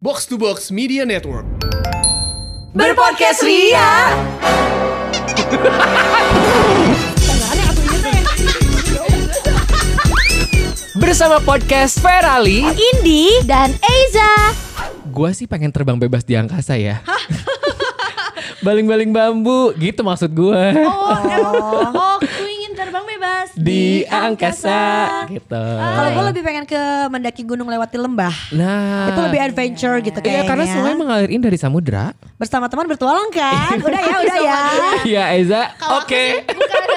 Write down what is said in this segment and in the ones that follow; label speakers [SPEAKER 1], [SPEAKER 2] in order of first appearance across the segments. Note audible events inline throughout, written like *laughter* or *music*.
[SPEAKER 1] Box to Box Media Network.
[SPEAKER 2] Berpodcast Ria. Bersama podcast Ferali.
[SPEAKER 3] Indi dan Eiza.
[SPEAKER 2] Gua sih pengen terbang bebas di angkasa
[SPEAKER 3] *laughs*
[SPEAKER 2] ya. Baling-baling bambu, gitu maksud gua.
[SPEAKER 3] Oh, emang.
[SPEAKER 2] *laughs*
[SPEAKER 3] Oh, aku ingin terbang bebas Ah.
[SPEAKER 2] Di angkasa, gitu.
[SPEAKER 3] Kalau gue lebih pengen ke mendaki gunung lewati lembah.
[SPEAKER 2] Nah,
[SPEAKER 3] Itu lebih adventure gitu
[SPEAKER 2] Iya,
[SPEAKER 3] kayaknya.
[SPEAKER 2] karena sungai mengalirin dari samudra.
[SPEAKER 3] bersama teman bertualang *laughs* kan. Udah ya, udah ya.
[SPEAKER 2] Iya, Eza.
[SPEAKER 4] Kalau aku sih
[SPEAKER 2] *laughs* Oke.
[SPEAKER 4] bukan aku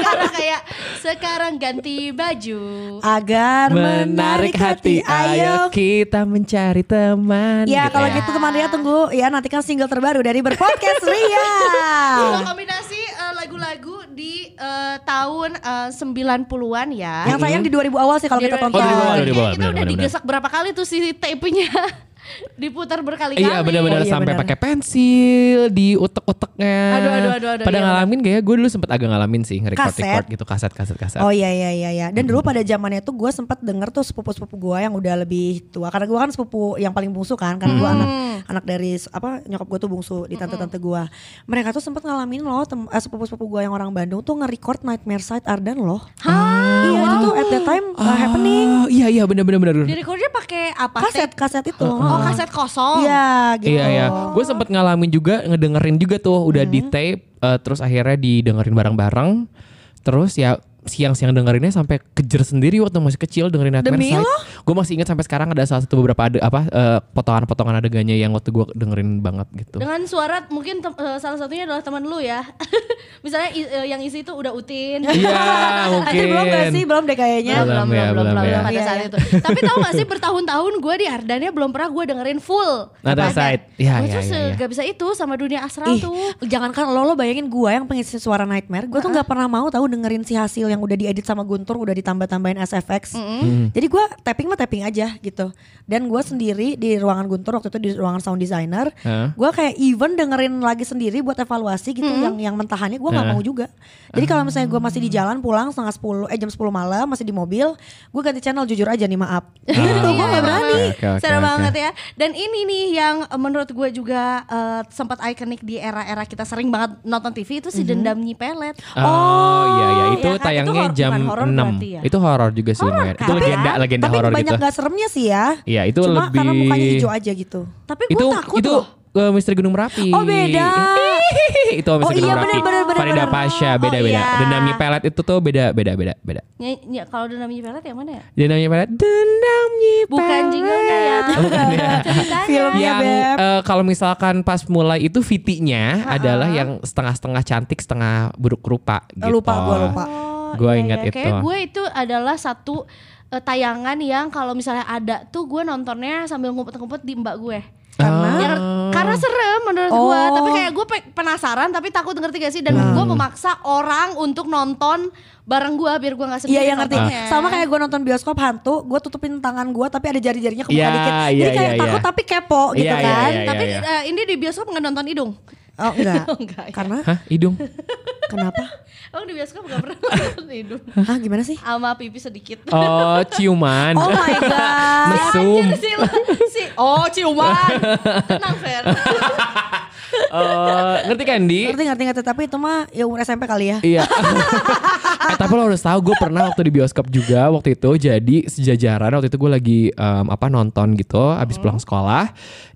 [SPEAKER 4] sekarang kayak sekarang ganti baju.
[SPEAKER 3] Agar menarik hati, ayo.
[SPEAKER 2] kita mencari teman.
[SPEAKER 3] Ya
[SPEAKER 2] gitu
[SPEAKER 3] kalau gitu teman Ria tunggu ya nantikan single terbaru dari Berpodcast *laughs* Ria.
[SPEAKER 4] Kalau kombinasi eh, lagu-lagu di eh, tahun eh, 90-an ya.
[SPEAKER 3] Yang sayang di 2000 awal sih kalau kita
[SPEAKER 4] Di-
[SPEAKER 3] tonton.
[SPEAKER 2] Oh, di bawah,
[SPEAKER 4] Iya,
[SPEAKER 2] di bawah,
[SPEAKER 4] Kita
[SPEAKER 2] benar,
[SPEAKER 4] udah
[SPEAKER 2] benar,
[SPEAKER 4] digesak berapa kali tuh si tape-nya *laughs* diputar berkali-kali.
[SPEAKER 2] Iya
[SPEAKER 3] Oh,
[SPEAKER 2] benar-benar
[SPEAKER 3] iya,
[SPEAKER 2] sampai
[SPEAKER 3] benar.
[SPEAKER 2] pakai pensil di utek-uteknya.
[SPEAKER 4] Aduh, aduh, aduh, aduh,
[SPEAKER 2] Pada
[SPEAKER 4] iya.
[SPEAKER 2] ngalamin gak ya? Gue dulu sempet agak ngalamin sih ngerekord
[SPEAKER 3] Kaset.
[SPEAKER 2] record gitu kaset kaset kaset.
[SPEAKER 3] Oh iya iya iya iya. Dan dulu pada zamannya tuh gue sempat denger tuh sepupu-sepupu gue yang udah lebih tua. Karena gue kan sepupu yang paling bungsu kan. Karena gue anak anak dari s- apa nyokap gue tuh bungsu di tante-tante gue. Mereka tuh sempat ngalamin loh tem- eh, sepupu-sepupu gue yang orang Bandung tuh nge-record Nightmare Side Ardan loh. Iya itu tuh at that time uh,
[SPEAKER 2] Ah,
[SPEAKER 3] happening.
[SPEAKER 2] Iya iya benar-benar benar.
[SPEAKER 4] Di recordnya pakai apa?
[SPEAKER 3] Kaset
[SPEAKER 4] Tape?
[SPEAKER 3] kaset itu.
[SPEAKER 4] Oh, kaset kosong.
[SPEAKER 3] Iya gitu.
[SPEAKER 2] Iya iya. Gue sempet ngalamin juga ngedengerin juga tuh udah di
[SPEAKER 3] Hmm.
[SPEAKER 2] tape eh, terus akhirnya didengerin bareng-bareng. Terus ya siang-siang dengerinnya sampai kejer sendiri waktu masih kecil dengerin Nightmare
[SPEAKER 3] Demi lo?
[SPEAKER 2] Gue masih ingat sampai sekarang ada salah satu beberapa ade, apa eh, potongan-potongan adegannya yang waktu gue dengerin banget gitu.
[SPEAKER 4] Dengan suara mungkin tem- eh, salah satunya adalah teman lu ya. *laughs* Misalnya i- eh, yang isi itu udah
[SPEAKER 3] *laughs*
[SPEAKER 4] utin.
[SPEAKER 2] Iya mungkin.
[SPEAKER 3] Tapi belum gak sih? Belum deh kayaknya.
[SPEAKER 2] Belum. ya, belum ya.
[SPEAKER 4] pada
[SPEAKER 3] Iya,
[SPEAKER 4] saat
[SPEAKER 3] iya.
[SPEAKER 4] itu. Tapi tau gak sih bertahun-tahun gue di Ardania belum pernah gue dengerin full.
[SPEAKER 2] Nah, that's right. Iya,
[SPEAKER 4] Gue
[SPEAKER 2] iya,
[SPEAKER 4] tuh
[SPEAKER 2] iya,
[SPEAKER 4] se-
[SPEAKER 2] iya.
[SPEAKER 4] gak bisa itu sama dunia astral
[SPEAKER 3] Ih,
[SPEAKER 4] tuh.
[SPEAKER 3] jangankan lo lo bayangin gua yang pengisi suara Nightmare, gua tuh nggak pernah mau tahu dengerin si hasil yang udah diedit sama Guntur, udah ditambah-tambahin SFX.
[SPEAKER 2] Hmm.
[SPEAKER 3] Jadi gua tapping mah tapping aja gitu. Dan gua sendiri di ruangan Guntur waktu itu di ruangan sound designer,
[SPEAKER 2] Heeh.
[SPEAKER 3] gua kayak even dengerin lagi sendiri buat evaluasi gitu yang yang mentahannya gua nggak
[SPEAKER 2] Heeh.
[SPEAKER 3] mau juga. Jadi kalau misalnya gua masih di jalan pulang setengah 10 eh jam 10 malam masih di mobil, gua ganti channel jujur aja nih maaf.
[SPEAKER 2] Ah.
[SPEAKER 3] gitu gua
[SPEAKER 4] Iya.
[SPEAKER 3] nggak berani.
[SPEAKER 2] Oke, oke,
[SPEAKER 4] Serem
[SPEAKER 2] oke.
[SPEAKER 4] banget ya. Dan ini nih yang eh, menurut gue juga eh, sempat ikonik di era-era kita sering banget nonton TV
[SPEAKER 3] Mhm.
[SPEAKER 4] itu si dendam Nyi Pelet. Ya
[SPEAKER 2] Oh iya iya itu
[SPEAKER 3] iya kan? Itu
[SPEAKER 2] tayangnya
[SPEAKER 3] hor-
[SPEAKER 2] jam
[SPEAKER 4] bukan horor
[SPEAKER 2] 6
[SPEAKER 4] berarti ya?
[SPEAKER 2] Itu horor juga sih lumayan. Itu legenda legenda
[SPEAKER 3] Tapi
[SPEAKER 2] horor
[SPEAKER 3] banyak
[SPEAKER 2] gitu.
[SPEAKER 3] nggak seremnya sih ya.
[SPEAKER 2] Iya itu
[SPEAKER 3] Cuma
[SPEAKER 2] lebih
[SPEAKER 3] karena mukanya hijau aja gitu.
[SPEAKER 4] Tapi gue
[SPEAKER 2] Itu
[SPEAKER 4] takut
[SPEAKER 2] itu
[SPEAKER 4] loh.
[SPEAKER 2] eh, Misteri Gunung Merapi.
[SPEAKER 3] Oh, beda.
[SPEAKER 2] *laughs* itu Misteri
[SPEAKER 3] Oh, iya,
[SPEAKER 2] Gunung Merapi.
[SPEAKER 3] bener, bener, bener,
[SPEAKER 2] Farida
[SPEAKER 3] bener.
[SPEAKER 2] Pasha beda
[SPEAKER 4] Oh,
[SPEAKER 2] beda.
[SPEAKER 4] iya.
[SPEAKER 2] Dendam Nyi Pelet itu tuh beda beda beda beda.
[SPEAKER 4] Nyi- Nyi- Kalau dendam Nyi Pelet yang mana ya?
[SPEAKER 2] Dendam Nyi Pelet. Dendam Nyi Pelet.
[SPEAKER 4] Bukan jinglenya ya.
[SPEAKER 2] Bukan ya.
[SPEAKER 4] Ceritanya.
[SPEAKER 3] Filmnya
[SPEAKER 2] yang
[SPEAKER 3] Beb.
[SPEAKER 2] eh, kalau misalkan pas mulai itu VT-nya adalah yang setengah-setengah cantik setengah buruk rupa gitu.
[SPEAKER 3] Lupa gua lupa. Iya,
[SPEAKER 4] Oh,
[SPEAKER 2] Gua ingat itu.
[SPEAKER 4] Kayaknya gue itu adalah satu eh, tayangan yang kalau misalnya ada tuh gue nontonnya sambil ngumpet-ngumpet di mbak gue.
[SPEAKER 3] Karena-
[SPEAKER 2] Ah.
[SPEAKER 4] Ya, karena serem menurut
[SPEAKER 3] Oh.
[SPEAKER 4] gue. Tapi kayak gue pe- penasaran tapi takut ngerti gak sih dan gue memaksa orang untuk nonton bareng gue biar gue nggak sendiri.
[SPEAKER 3] Iya yang ngerti.
[SPEAKER 4] nontonnya.
[SPEAKER 3] Sama kayak gue nonton bioskop hantu, gue tutupin tangan gue tapi ada jari-jarinya kebuka
[SPEAKER 2] Iya,
[SPEAKER 3] dikit.
[SPEAKER 2] iya,
[SPEAKER 3] Jadi kayak
[SPEAKER 2] iya,
[SPEAKER 3] takut
[SPEAKER 2] iya.
[SPEAKER 3] tapi kepo
[SPEAKER 2] Iya,
[SPEAKER 3] gitu
[SPEAKER 2] iya,
[SPEAKER 3] kan.
[SPEAKER 2] iya,
[SPEAKER 4] Tapi
[SPEAKER 2] iya.
[SPEAKER 4] eh, ini di bioskop nggak nonton *laughs* hidung.
[SPEAKER 3] Oh enggak.
[SPEAKER 4] Enggak, ya.
[SPEAKER 3] Karena
[SPEAKER 2] Hah,
[SPEAKER 3] *laughs*
[SPEAKER 2] hidung?
[SPEAKER 3] kenapa?
[SPEAKER 4] Emang di bioskop nggak pernah nonton hidung.
[SPEAKER 3] Hah gimana sih?
[SPEAKER 4] Sama pipi sedikit.
[SPEAKER 2] Oh, ciuman.
[SPEAKER 3] Oh my
[SPEAKER 2] *laughs*
[SPEAKER 3] god.
[SPEAKER 2] Mesum.
[SPEAKER 4] *laughs* Anjir sih lo. Si, oh ciuman. Tenang Fer.
[SPEAKER 2] Eh, ngerti kan, Di?
[SPEAKER 3] Ngerti ngerti ngerti tapi itu mah ya umur SMP kali ya.
[SPEAKER 4] *laughs*
[SPEAKER 2] Iya. eh, tapi lo harus tahu gue pernah waktu di bioskop juga waktu itu jadi sejajaran waktu itu gue lagi em, apa nonton gitu abis
[SPEAKER 4] Hmm.
[SPEAKER 2] pulang sekolah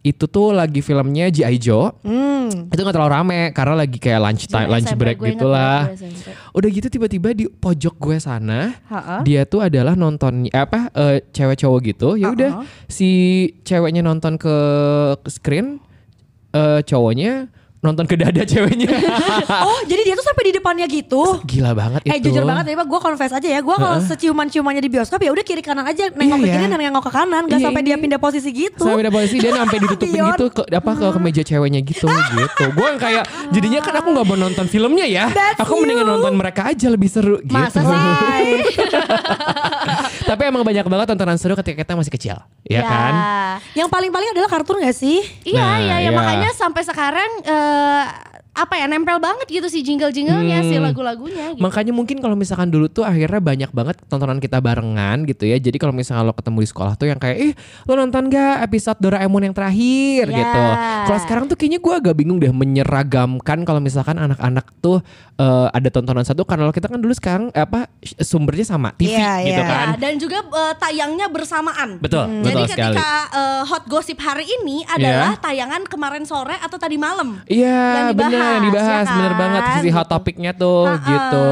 [SPEAKER 2] itu tuh lagi filmnya G.I. Joe
[SPEAKER 4] Hmm.
[SPEAKER 2] itu nggak terlalu rame karena lagi kayak lunch time lunch
[SPEAKER 4] SMP,
[SPEAKER 2] break
[SPEAKER 4] gue Iya, ingat
[SPEAKER 2] gitulah
[SPEAKER 4] banget gue SMP.
[SPEAKER 2] udah gitu tiba-tiba di pojok gue sana
[SPEAKER 4] Ha-ha.
[SPEAKER 2] dia tuh adalah nonton apa eh, cewek cowok gitu ya udah si ceweknya nonton ke ke screen eh, cowoknya nonton ke dada
[SPEAKER 4] *laughs*
[SPEAKER 2] ceweknya
[SPEAKER 3] Oh jadi dia tuh sampai di depannya gitu.
[SPEAKER 2] Gila banget Iya.
[SPEAKER 3] Eh
[SPEAKER 2] itu.
[SPEAKER 3] jujur banget ya, gue confess aja ya, gue kalau seciuman-ciumannya di bioskop ya udah kiri kanan aja, nengok
[SPEAKER 2] Iya,
[SPEAKER 3] ke kiri
[SPEAKER 2] ya.
[SPEAKER 3] dan nengok ke kanan, gak
[SPEAKER 2] Iya,
[SPEAKER 3] sampai
[SPEAKER 2] ini-
[SPEAKER 3] dia pindah posisi gitu.
[SPEAKER 2] Sampai ada polisi dia sampai ditutupin
[SPEAKER 3] Dion.
[SPEAKER 2] gitu ke apa ke kemeja ceweknya gitu gitu. Gue yang kayak jadinya kan aku nggak mau nonton filmnya ya.
[SPEAKER 3] That's
[SPEAKER 2] aku mendingan nonton mereka aja lebih seru gitu.
[SPEAKER 4] Masa sih?
[SPEAKER 2] *laughs* Tapi emang banyak banget tontonan seru ketika kita masih kecil,
[SPEAKER 3] Iya.
[SPEAKER 2] ya, kan?
[SPEAKER 3] Yang paling-paling adalah kartun gak sih?
[SPEAKER 4] Iya,
[SPEAKER 2] Nah,
[SPEAKER 4] iya, iya.
[SPEAKER 2] iya.
[SPEAKER 4] Makanya sampai sekarang eh, apa ya nempel banget gitu sih jingle-jinglenya
[SPEAKER 2] Hmm.
[SPEAKER 4] sih
[SPEAKER 3] Iya,
[SPEAKER 4] lagu-lagunya gitu.
[SPEAKER 2] Makanya mungkin kalau misalkan dulu tuh akhirnya banyak banget tontonan kita barengan gitu ya. Jadi kalau misalkan lo ketemu di sekolah tuh yang kayak, ih lo nonton gak episode Doraemon yang
[SPEAKER 3] Iya.
[SPEAKER 2] terakhir
[SPEAKER 4] Ya.
[SPEAKER 2] gitu. Kalau sekarang tuh kayaknya gue agak bingung deh menyeragamkan kalau misalkan anak-anak tuh eh, ada tontonan satu. Karena kita kan dulu sekarang eh, apa sumbernya sama TV
[SPEAKER 3] Iya,
[SPEAKER 2] gitu
[SPEAKER 3] iya.
[SPEAKER 2] kan.
[SPEAKER 4] Ya, dan juga eh, tayangnya bersamaan.
[SPEAKER 2] Betul,
[SPEAKER 4] Jadi
[SPEAKER 2] betul sekali.
[SPEAKER 4] ketika eh, hot gossip hari ini adalah tayangan kemarin sore atau tadi malam.
[SPEAKER 2] Iya
[SPEAKER 4] Yang
[SPEAKER 2] bener yang
[SPEAKER 4] dibahas,
[SPEAKER 2] dibahas
[SPEAKER 4] ya
[SPEAKER 2] bener
[SPEAKER 4] kan?
[SPEAKER 2] banget sisi hot
[SPEAKER 4] Gitu.
[SPEAKER 2] topiknya tuh
[SPEAKER 4] Ha-ha.
[SPEAKER 2] gitu.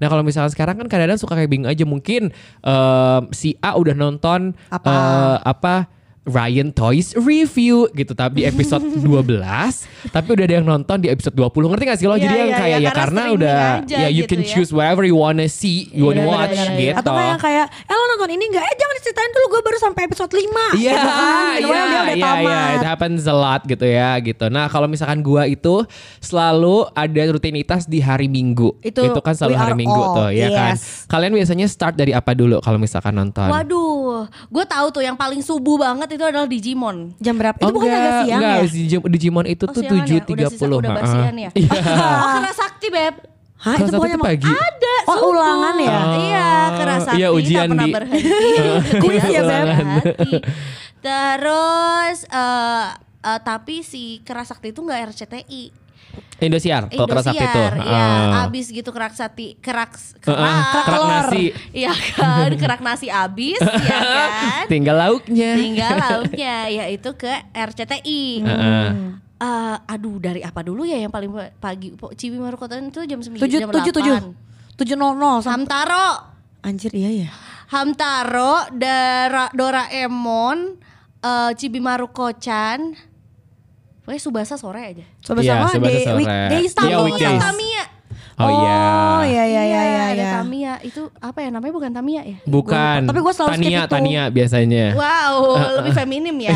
[SPEAKER 2] Nah kalau misalnya sekarang kan kadang-kadang suka kayak bingung aja mungkin em, si A udah nonton
[SPEAKER 3] Apa?
[SPEAKER 2] eh, apa Ryan Toys review gitu tapi
[SPEAKER 4] *laughs*
[SPEAKER 2] di episode 12 tapi udah ada yang nonton di episode 20 ngerti gak sih lo
[SPEAKER 4] Iya,
[SPEAKER 2] jadi yang
[SPEAKER 4] iya,
[SPEAKER 2] kayak
[SPEAKER 4] iya,
[SPEAKER 2] ya karena
[SPEAKER 4] karena
[SPEAKER 2] udah
[SPEAKER 4] streaming aja
[SPEAKER 2] ya you
[SPEAKER 4] gitu
[SPEAKER 2] can
[SPEAKER 4] ya. Iya,
[SPEAKER 2] choose whatever you wanna see you wanna
[SPEAKER 3] Bener,
[SPEAKER 2] watch
[SPEAKER 3] bener, bener.
[SPEAKER 2] gitu
[SPEAKER 3] Atau kayak kayak eh lo nonton ini enggak? Eh jangan diceritain dulu gue baru sampai episode 5.
[SPEAKER 2] Iya,
[SPEAKER 3] gitu kan. Gitu kan, dia udah
[SPEAKER 2] iya, iya,
[SPEAKER 3] tamat.
[SPEAKER 2] it happens a lot gitu ya gitu. Nah kalau misalkan gua itu selalu ada rutinitas di hari Minggu.
[SPEAKER 3] Itu
[SPEAKER 2] kan selalu
[SPEAKER 3] we
[SPEAKER 2] hari
[SPEAKER 3] are
[SPEAKER 2] Minggu
[SPEAKER 3] all,
[SPEAKER 2] tuh, ya kan.
[SPEAKER 3] yes.
[SPEAKER 2] Kalian biasanya start dari apa dulu kalau misalkan nonton?
[SPEAKER 4] Waduh, gue tahu tuh yang paling subuh banget itu adalah Digimon.
[SPEAKER 3] Jam berapa?
[SPEAKER 2] Oh,
[SPEAKER 3] itu bukan
[SPEAKER 2] enggak,
[SPEAKER 3] agak siang
[SPEAKER 2] enggak,
[SPEAKER 3] ya?
[SPEAKER 2] Digim- Digimon itu
[SPEAKER 4] Oh,
[SPEAKER 2] tuh
[SPEAKER 4] siangan ya?
[SPEAKER 2] tujuh
[SPEAKER 4] Udah
[SPEAKER 2] tiga
[SPEAKER 4] sisa-
[SPEAKER 2] puluh.
[SPEAKER 4] udah basian ya?
[SPEAKER 2] *laughs* Iya.
[SPEAKER 4] *laughs* Oh, kera sakti beb.
[SPEAKER 3] Hah, Ah,
[SPEAKER 2] Kelas
[SPEAKER 3] itu
[SPEAKER 2] satu
[SPEAKER 3] pokoknya
[SPEAKER 2] tuh pagi.
[SPEAKER 4] Ada
[SPEAKER 3] Oh,
[SPEAKER 4] subuh.
[SPEAKER 3] ulangan ya?
[SPEAKER 4] Iya, kera
[SPEAKER 2] Ah,
[SPEAKER 4] sakti
[SPEAKER 2] iya,
[SPEAKER 4] tak
[SPEAKER 2] ujian
[SPEAKER 4] pernah
[SPEAKER 2] di-
[SPEAKER 4] berhenti.
[SPEAKER 2] *laughs*
[SPEAKER 3] Kuis ya, Beb?
[SPEAKER 4] Kera sakti. *laughs* Terus eh eh, tapi si kera sakti itu nggak RCTI.
[SPEAKER 2] Indosiar, kalau keras Oh, sakti itu.
[SPEAKER 4] Indosiar, Iya,
[SPEAKER 2] Ah.
[SPEAKER 4] abis gitu kerak sati, kerak
[SPEAKER 2] Ah,
[SPEAKER 4] kerak,
[SPEAKER 2] ah, kerak nasi.
[SPEAKER 4] Iya kan, kerak nasi
[SPEAKER 2] *laughs*
[SPEAKER 4] abis, ya kan.
[SPEAKER 2] Tinggal lauknya.
[SPEAKER 4] Tinggal lauknya yaitu ke RCTI.
[SPEAKER 2] Heeh.
[SPEAKER 4] Eh, aduh dari apa dulu ya yang paling pagi Po- Cibimaru Kota itu jam 9
[SPEAKER 3] Tujuh
[SPEAKER 4] jam
[SPEAKER 3] tujuh tujuh
[SPEAKER 4] 8.
[SPEAKER 3] tujuh nol nol. sam-
[SPEAKER 4] Hamtaro
[SPEAKER 3] Anjir iya ya.
[SPEAKER 4] Hamtaro Dora, Doraemon eh, Cibimaru Kocan Pokoknya Subasa sore aja
[SPEAKER 3] Coba
[SPEAKER 2] Iya,
[SPEAKER 3] sama
[SPEAKER 2] Tsubasa
[SPEAKER 3] di
[SPEAKER 2] sore.
[SPEAKER 3] weekdays
[SPEAKER 2] Iya,
[SPEAKER 3] tamu
[SPEAKER 2] weekdays.
[SPEAKER 4] Tamiya
[SPEAKER 2] Oh iya.
[SPEAKER 3] Oh iya iya iya iya.
[SPEAKER 4] ada
[SPEAKER 3] iya.
[SPEAKER 4] Tamiya itu apa ya namanya bukan Tamiya ya?
[SPEAKER 2] Bukan.
[SPEAKER 3] Tapi gua selalu skip
[SPEAKER 2] Tania,
[SPEAKER 3] itu. Iya.
[SPEAKER 2] Tania biasanya.
[SPEAKER 4] Wow,
[SPEAKER 2] *laughs*
[SPEAKER 4] lebih feminim ya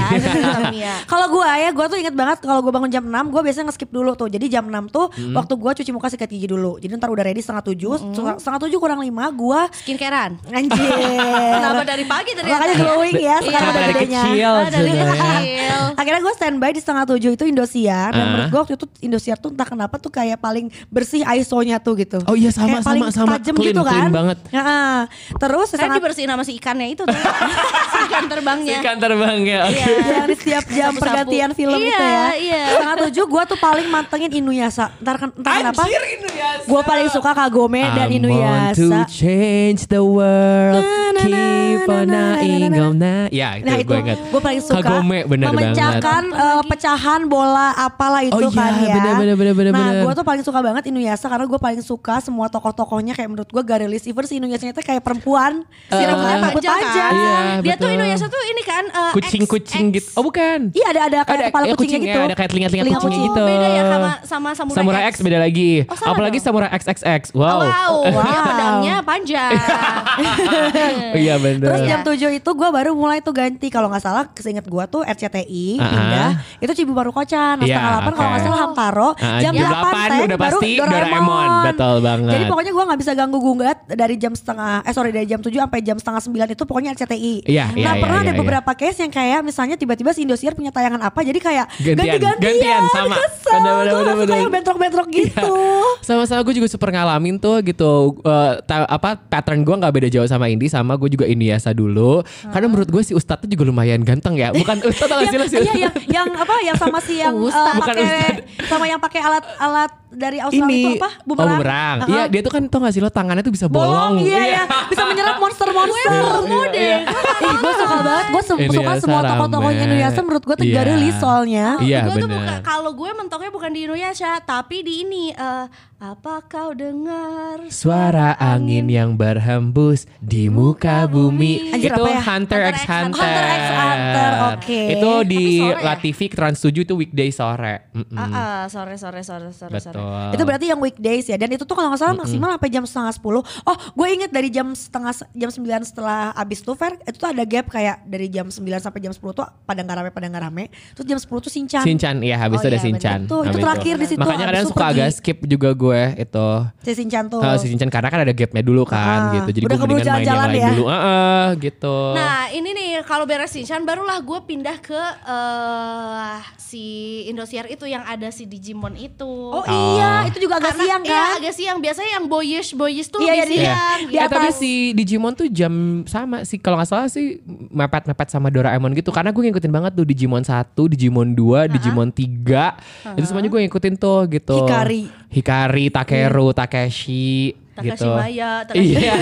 [SPEAKER 4] Tamiya.
[SPEAKER 3] Kalau gue ya, gue tuh inget banget kalau gue bangun jam 6, gue biasanya nge-skip dulu tuh. Jadi jam 6 tuh
[SPEAKER 2] Hmm.
[SPEAKER 3] waktu gue cuci muka sikat gigi dulu. Jadi ntar udah ready setengah 7, setengah 7 kurang 5 gue
[SPEAKER 4] Skincarean.
[SPEAKER 3] anjir.
[SPEAKER 4] Kenapa dari pagi ternyata?
[SPEAKER 3] Iya. Makanya glowing ya sekarang
[SPEAKER 4] Iya.
[SPEAKER 3] udah
[SPEAKER 2] Dari
[SPEAKER 3] gedenya.
[SPEAKER 2] kecil
[SPEAKER 4] Ah, dari
[SPEAKER 2] sebenarnya.
[SPEAKER 4] kecil.
[SPEAKER 3] Akhirnya gue standby di setengah tujuh itu Indosiar Dan
[SPEAKER 2] Ah.
[SPEAKER 3] menurut gue waktu itu Indosiar tuh entah kenapa tuh kayak paling bersih ISO-nya tuh gitu
[SPEAKER 2] Oh iya,
[SPEAKER 3] Kayak
[SPEAKER 2] sama,
[SPEAKER 3] paling
[SPEAKER 2] sama, sama.
[SPEAKER 3] tajam
[SPEAKER 2] Clean,
[SPEAKER 3] gitu kan
[SPEAKER 2] clean banget.
[SPEAKER 3] Heeh. Terus di
[SPEAKER 4] Saya
[SPEAKER 3] *laughs* setengah
[SPEAKER 4] dibersihin sama si ikannya itu tuh. *laughs* si ikan terbangnya.
[SPEAKER 2] Ikan terbang ya. oke.
[SPEAKER 4] Iya.
[SPEAKER 3] yang
[SPEAKER 4] *laughs*
[SPEAKER 3] di setiap jam
[SPEAKER 4] Sapu-sapu.
[SPEAKER 3] pergantian film
[SPEAKER 4] Iya,
[SPEAKER 3] itu ya
[SPEAKER 4] iya.
[SPEAKER 3] Setengah tujuh gue tuh paling mantengin Inuyasha Ntar, kan- ntar kenapa Gue paling suka Kagome dan
[SPEAKER 2] I want iya. to
[SPEAKER 3] Inuyasha
[SPEAKER 2] change the world
[SPEAKER 3] Na, na, na,
[SPEAKER 2] Keep on
[SPEAKER 3] na, na, na,
[SPEAKER 2] naing
[SPEAKER 3] na, na.
[SPEAKER 2] on na Ya itu
[SPEAKER 3] Nah itu
[SPEAKER 2] gue ingat
[SPEAKER 3] gue paling suka
[SPEAKER 2] Kagome bener
[SPEAKER 3] memecahkan eh, pecahan bola apalah itu
[SPEAKER 2] Oh iya,
[SPEAKER 3] kan ya.
[SPEAKER 2] bener, bener, bener, bener,
[SPEAKER 3] nah
[SPEAKER 2] bener.
[SPEAKER 3] gue tuh paling suka banget Inuyasha karena gue paling suka semua tokoh-tokohnya kayak menurut gue Garelish Even si Inuyasha itu kayak perempuan. Si
[SPEAKER 2] Eh,
[SPEAKER 3] rambutnya
[SPEAKER 4] Rambut
[SPEAKER 3] panjang
[SPEAKER 4] panjang
[SPEAKER 3] aja.
[SPEAKER 4] kan?
[SPEAKER 2] Iya,
[SPEAKER 4] Dia tuh
[SPEAKER 2] betul.
[SPEAKER 4] Indonesia tuh ini kan eh,
[SPEAKER 2] Kucing-kucing
[SPEAKER 4] X-
[SPEAKER 2] gitu Oh bukan
[SPEAKER 3] Iya ada ada kayak
[SPEAKER 2] Ada
[SPEAKER 3] kepala
[SPEAKER 2] iya,
[SPEAKER 3] kucingnya gitu.
[SPEAKER 2] Ada kayak telinga-telinga
[SPEAKER 3] Telinga
[SPEAKER 2] kucingnya
[SPEAKER 3] kucing.
[SPEAKER 2] gitu
[SPEAKER 4] Beda ya sama sama
[SPEAKER 3] Iya,
[SPEAKER 4] Samurai,
[SPEAKER 2] Samurai X beda lagi
[SPEAKER 4] Oh, sama
[SPEAKER 2] Apalagi
[SPEAKER 4] dong.
[SPEAKER 2] Samurai XXX Wow, *laughs*
[SPEAKER 4] Wow, dia
[SPEAKER 3] Oh, Wow.
[SPEAKER 4] pedangnya panjang.
[SPEAKER 2] Oh, Iya bener
[SPEAKER 3] Terus jam 7 itu gue baru mulai tuh ganti kalau nggak salah seinget gue tuh RCTI
[SPEAKER 2] Ah.
[SPEAKER 3] pindah itu Cibibaru Kocan nah,
[SPEAKER 2] Iya,
[SPEAKER 3] setengah 8 kalau nggak
[SPEAKER 2] oke.
[SPEAKER 3] salah Hamtaro
[SPEAKER 2] Ah,
[SPEAKER 3] jam,
[SPEAKER 2] jam
[SPEAKER 3] 8,
[SPEAKER 2] 8
[SPEAKER 3] Tek,
[SPEAKER 2] udah
[SPEAKER 3] baru
[SPEAKER 2] pasti Doraemon. Betul banget.
[SPEAKER 3] Jadi pokoknya gue nggak bisa ganggu gugat dari jam setengah eh sorry dari jam 7 sampai jam setengah 9 itu pokoknya RCTI.
[SPEAKER 2] Iya, iya,
[SPEAKER 3] nah
[SPEAKER 2] iya,
[SPEAKER 3] pernah
[SPEAKER 2] iya,
[SPEAKER 3] ada
[SPEAKER 2] iya.
[SPEAKER 3] beberapa case yang kayak misalnya tiba-tiba si Indosiar punya tayangan apa jadi kayak
[SPEAKER 2] Gantian,
[SPEAKER 3] ganti-gantian,
[SPEAKER 2] gantian, sama.
[SPEAKER 3] Kesel,
[SPEAKER 2] Bener, bener,
[SPEAKER 3] gue
[SPEAKER 2] bener,
[SPEAKER 3] nggak suka
[SPEAKER 2] bener. Iya.
[SPEAKER 3] yang bentrok-bentrok gitu.
[SPEAKER 2] sama-sama gue juga super ngalamin tuh gitu Eh, ta- apa pattern gue nggak beda jauh sama Indi sama gue juga Indiasa dulu karena menurut gue si Ustadz tuh juga lumayan ganteng ya bukan
[SPEAKER 3] *laughs*
[SPEAKER 2] Ustadz tau gak sih lo si
[SPEAKER 3] yang, iya,
[SPEAKER 2] Ustadz?
[SPEAKER 3] yang, yang apa yang sama si *laughs* yang eh,
[SPEAKER 4] Ustad.
[SPEAKER 2] Bukan Ustad.
[SPEAKER 3] pakai sama yang pakai alat-alat dari Australia itu
[SPEAKER 2] ini
[SPEAKER 3] apa?
[SPEAKER 2] bumerang. oh bumerang
[SPEAKER 3] Uh-uh.
[SPEAKER 2] iya dia tuh kan tau gak sih lo tangannya tuh bisa
[SPEAKER 3] bolong,
[SPEAKER 2] bolong,
[SPEAKER 3] iya, iya. bisa menyerap monster-monster.
[SPEAKER 4] Porno deh.
[SPEAKER 3] Iya, Ih, gue suka banget. Gue suka
[SPEAKER 2] Inuyasha
[SPEAKER 3] semua tokoh-tokohnya
[SPEAKER 2] rame.
[SPEAKER 3] Inuyasha menurut gue
[SPEAKER 2] Iya.
[SPEAKER 3] tegar rilis soalnya.
[SPEAKER 2] *laughs* Iya,
[SPEAKER 4] gue tuh
[SPEAKER 2] bener.
[SPEAKER 4] buka kalau gue mentoknya bukan di Indonesia tapi di ini eh, apa kau dengar
[SPEAKER 2] Suara angin yang berhembus di muka bumi
[SPEAKER 3] Anjir,
[SPEAKER 2] itu
[SPEAKER 3] apa ya?
[SPEAKER 2] Hunter,
[SPEAKER 4] Hunter
[SPEAKER 2] x
[SPEAKER 4] x
[SPEAKER 2] Hunter.
[SPEAKER 3] Hunter x Hunter, oke.
[SPEAKER 2] Itu di
[SPEAKER 4] Tapi sore ya?
[SPEAKER 2] La TV Trans 7 itu weekday sore. Mm-mm.
[SPEAKER 4] Ah, ah, sore sore sore sore
[SPEAKER 2] Betul.
[SPEAKER 4] sore
[SPEAKER 3] Itu berarti yang weekdays ya. Dan itu tuh kalau nggak salah maksimal sampai jam setengah sepuluh. Oh, gue inget dari jam setengah jam sembilan setelah abis tuh Fer, itu tuh ada gap kayak dari jam sembilan sampai jam sepuluh tuh pada nggak rame pada nggak rame. Terus jam sepuluh tuh sinchan.
[SPEAKER 2] Sinchan, iya habis
[SPEAKER 4] Oh
[SPEAKER 2] itu ada
[SPEAKER 4] iya,
[SPEAKER 2] Sinchan.
[SPEAKER 3] kan- bener. Itu- itu
[SPEAKER 2] Habis
[SPEAKER 3] terakhir di situ,
[SPEAKER 2] Makanya
[SPEAKER 3] habis
[SPEAKER 2] kadang
[SPEAKER 3] itu
[SPEAKER 2] suka
[SPEAKER 3] pergi.
[SPEAKER 2] agak skip juga gue itu.
[SPEAKER 3] Si sinchan tuh.
[SPEAKER 2] Ah, si Sinchan karena kan ada gapnya dulu kan
[SPEAKER 3] Ah,
[SPEAKER 2] gitu. Jadi
[SPEAKER 3] udah
[SPEAKER 2] gue
[SPEAKER 3] keburu
[SPEAKER 2] mendingan main yang
[SPEAKER 3] jalan-jalan
[SPEAKER 2] lain
[SPEAKER 3] ya.
[SPEAKER 2] dulu. Ah, ah, gitu.
[SPEAKER 4] Nah ini nih kalau beres Sinchan barulah gue pindah ke eh, si Indosiar itu yang ada si si Digimon itu.
[SPEAKER 3] Oh, iya, itu juga agak
[SPEAKER 4] Karena-
[SPEAKER 3] siang
[SPEAKER 4] iya,
[SPEAKER 3] kan?
[SPEAKER 4] agak siang. Biasanya yang boyish boyish tuh
[SPEAKER 3] Iya,
[SPEAKER 4] iya,
[SPEAKER 3] iya,
[SPEAKER 4] lebih
[SPEAKER 3] iya.
[SPEAKER 4] siang.
[SPEAKER 3] Di
[SPEAKER 2] Eh, tapi
[SPEAKER 3] atas.
[SPEAKER 2] si Digimon tuh jam sama sih kalau nggak salah sih mepet-mepet sama Doraemon gitu karena gue ngikutin banget tuh Digimon 1, Digimon 2, Digimon 3. Itu semuanya gue ngikutin tuh gitu.
[SPEAKER 3] Hikari.
[SPEAKER 2] Hikari, Takeru,
[SPEAKER 3] Iya.
[SPEAKER 2] Takeshi,
[SPEAKER 4] Takashi
[SPEAKER 2] gitu.
[SPEAKER 4] Maya, Takashi
[SPEAKER 2] Iya.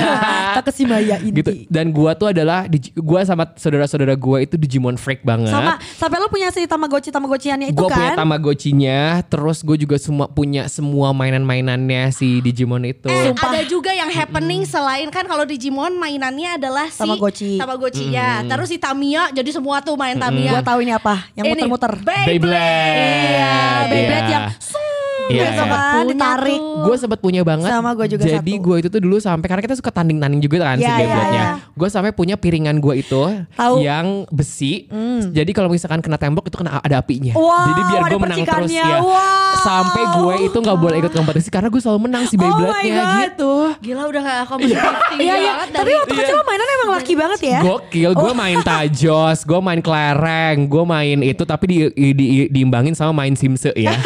[SPEAKER 3] Takashi Maya inti.
[SPEAKER 2] *laughs* gitu. Dan gua tuh adalah Digi- gua sama saudara-saudara gua itu Digimon freak banget.
[SPEAKER 3] Sama sampai lu punya si Tamagotchi Tamagotchiannya itu
[SPEAKER 2] Gue Nah. punya
[SPEAKER 3] kan?
[SPEAKER 2] Tamagotchi-nya, terus gue juga semua punya semua mainan-mainannya si Digimon itu.
[SPEAKER 4] Eh,
[SPEAKER 3] Sumpah.
[SPEAKER 4] ada juga yang happening selain kan kalau Digimon mainannya adalah si
[SPEAKER 3] Tamagotchi.
[SPEAKER 4] Tamagotchi-nya. Terus si Tamiya jadi semua tuh main
[SPEAKER 3] Gua
[SPEAKER 4] Tamiya.
[SPEAKER 3] tahu ini apa? Yang
[SPEAKER 4] Ini,
[SPEAKER 3] muter-muter.
[SPEAKER 2] Beyblade.
[SPEAKER 4] Iya,
[SPEAKER 3] Iya, Beyblade
[SPEAKER 2] Iya.
[SPEAKER 3] yang seng,
[SPEAKER 2] Iya,
[SPEAKER 3] gitu
[SPEAKER 2] iya.
[SPEAKER 3] kan,
[SPEAKER 4] Punya
[SPEAKER 3] ditarik.
[SPEAKER 4] tuh.
[SPEAKER 2] Gue sempat punya banget.
[SPEAKER 3] Sama gua juga
[SPEAKER 2] Jadi
[SPEAKER 3] satu.
[SPEAKER 2] gue itu tuh dulu sampai karena kita suka tanding-tanding juga kan si
[SPEAKER 3] Iya, iya,
[SPEAKER 2] Beyblade-nya.
[SPEAKER 3] iya.
[SPEAKER 2] Gue sampai punya piringan gue itu
[SPEAKER 3] Tahu. Hmm.
[SPEAKER 2] yang besi. Jadi kalau misalkan kena tembok itu kena ada apinya.
[SPEAKER 3] Wow,
[SPEAKER 2] Jadi biar
[SPEAKER 3] ada
[SPEAKER 2] gue menang terus
[SPEAKER 3] percikannya.
[SPEAKER 2] ya.
[SPEAKER 3] Wow.
[SPEAKER 2] Sampai gue itu nggak boleh ikut kompetisi karena gue selalu menang si
[SPEAKER 3] Oh my
[SPEAKER 2] Beyblade-nya
[SPEAKER 3] God.
[SPEAKER 2] gitu.
[SPEAKER 4] Gila udah gak kompetitif tinggi
[SPEAKER 3] Iya, iya.
[SPEAKER 4] banget
[SPEAKER 3] Tapi
[SPEAKER 4] dari- Iya.
[SPEAKER 3] waktu kecil lo mainan emang laki banget ya.
[SPEAKER 2] Gokil, gue main tajos, gue main kelereng, gue main itu tapi di, di- diimbangin sama main simse
[SPEAKER 3] *laughs*
[SPEAKER 2] ya.
[SPEAKER 3] *laughs*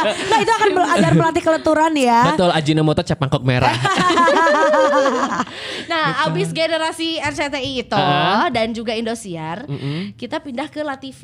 [SPEAKER 3] Nah itu akan bel- agar pelatih keleturan ya.
[SPEAKER 2] Betul, Ajinomoto cap mangkok merah.
[SPEAKER 3] *laughs*
[SPEAKER 4] Nah, abis generasi RCTI itu
[SPEAKER 2] Ah.
[SPEAKER 4] dan juga Indosiar, kita pindah ke La TV.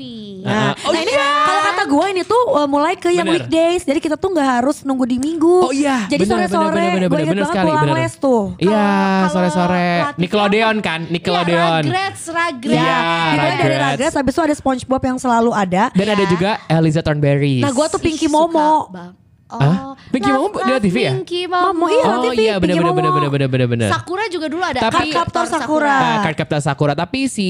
[SPEAKER 3] Nah,
[SPEAKER 2] Ah. Oh
[SPEAKER 3] nah ini
[SPEAKER 4] iya.
[SPEAKER 3] kalau kata gue ini tuh uh, mulai ke yang
[SPEAKER 2] Bener.
[SPEAKER 3] weekdays, jadi kita tuh nggak harus nunggu di minggu.
[SPEAKER 2] Oh iya,
[SPEAKER 3] Jadi
[SPEAKER 2] bener,
[SPEAKER 3] sore-sore
[SPEAKER 2] bener, bener,
[SPEAKER 3] gue
[SPEAKER 2] bener,
[SPEAKER 3] inget
[SPEAKER 2] bener
[SPEAKER 3] banget
[SPEAKER 2] sekali,
[SPEAKER 3] pulang
[SPEAKER 2] bener.
[SPEAKER 3] les tuh.
[SPEAKER 2] Iya,
[SPEAKER 4] Kalau-
[SPEAKER 2] sore-sore.
[SPEAKER 4] kalau La TV
[SPEAKER 2] Nickelodeon
[SPEAKER 4] apa?
[SPEAKER 2] kan, Nickelodeon.
[SPEAKER 4] Iya, Rugrats, Rugrats.
[SPEAKER 3] Iya,
[SPEAKER 2] Iya,
[SPEAKER 3] dimulai dari
[SPEAKER 2] Rugrats.
[SPEAKER 3] Rugrats, habis itu ada SpongeBob yang selalu ada.
[SPEAKER 2] Dan ada juga Eliza Thornberry.
[SPEAKER 3] Nah gue tuh Pinky
[SPEAKER 4] Ih,
[SPEAKER 3] Momo.
[SPEAKER 4] suka banget.
[SPEAKER 2] Hah? Pinky
[SPEAKER 4] Love,
[SPEAKER 2] Momo di La
[SPEAKER 4] love
[SPEAKER 2] TV ya?
[SPEAKER 4] Oh, Pinky
[SPEAKER 3] Momo,
[SPEAKER 4] Momo.
[SPEAKER 3] iya.
[SPEAKER 2] Oh
[SPEAKER 3] TV,
[SPEAKER 2] iya, benar
[SPEAKER 3] Pinky
[SPEAKER 2] benar benar
[SPEAKER 3] Momo.
[SPEAKER 2] benar benar benar benar.
[SPEAKER 4] Sakura juga dulu ada.
[SPEAKER 2] Tapi-
[SPEAKER 3] Cardcaptor Sakura.
[SPEAKER 2] Nah, Card Captain Sakura tapi si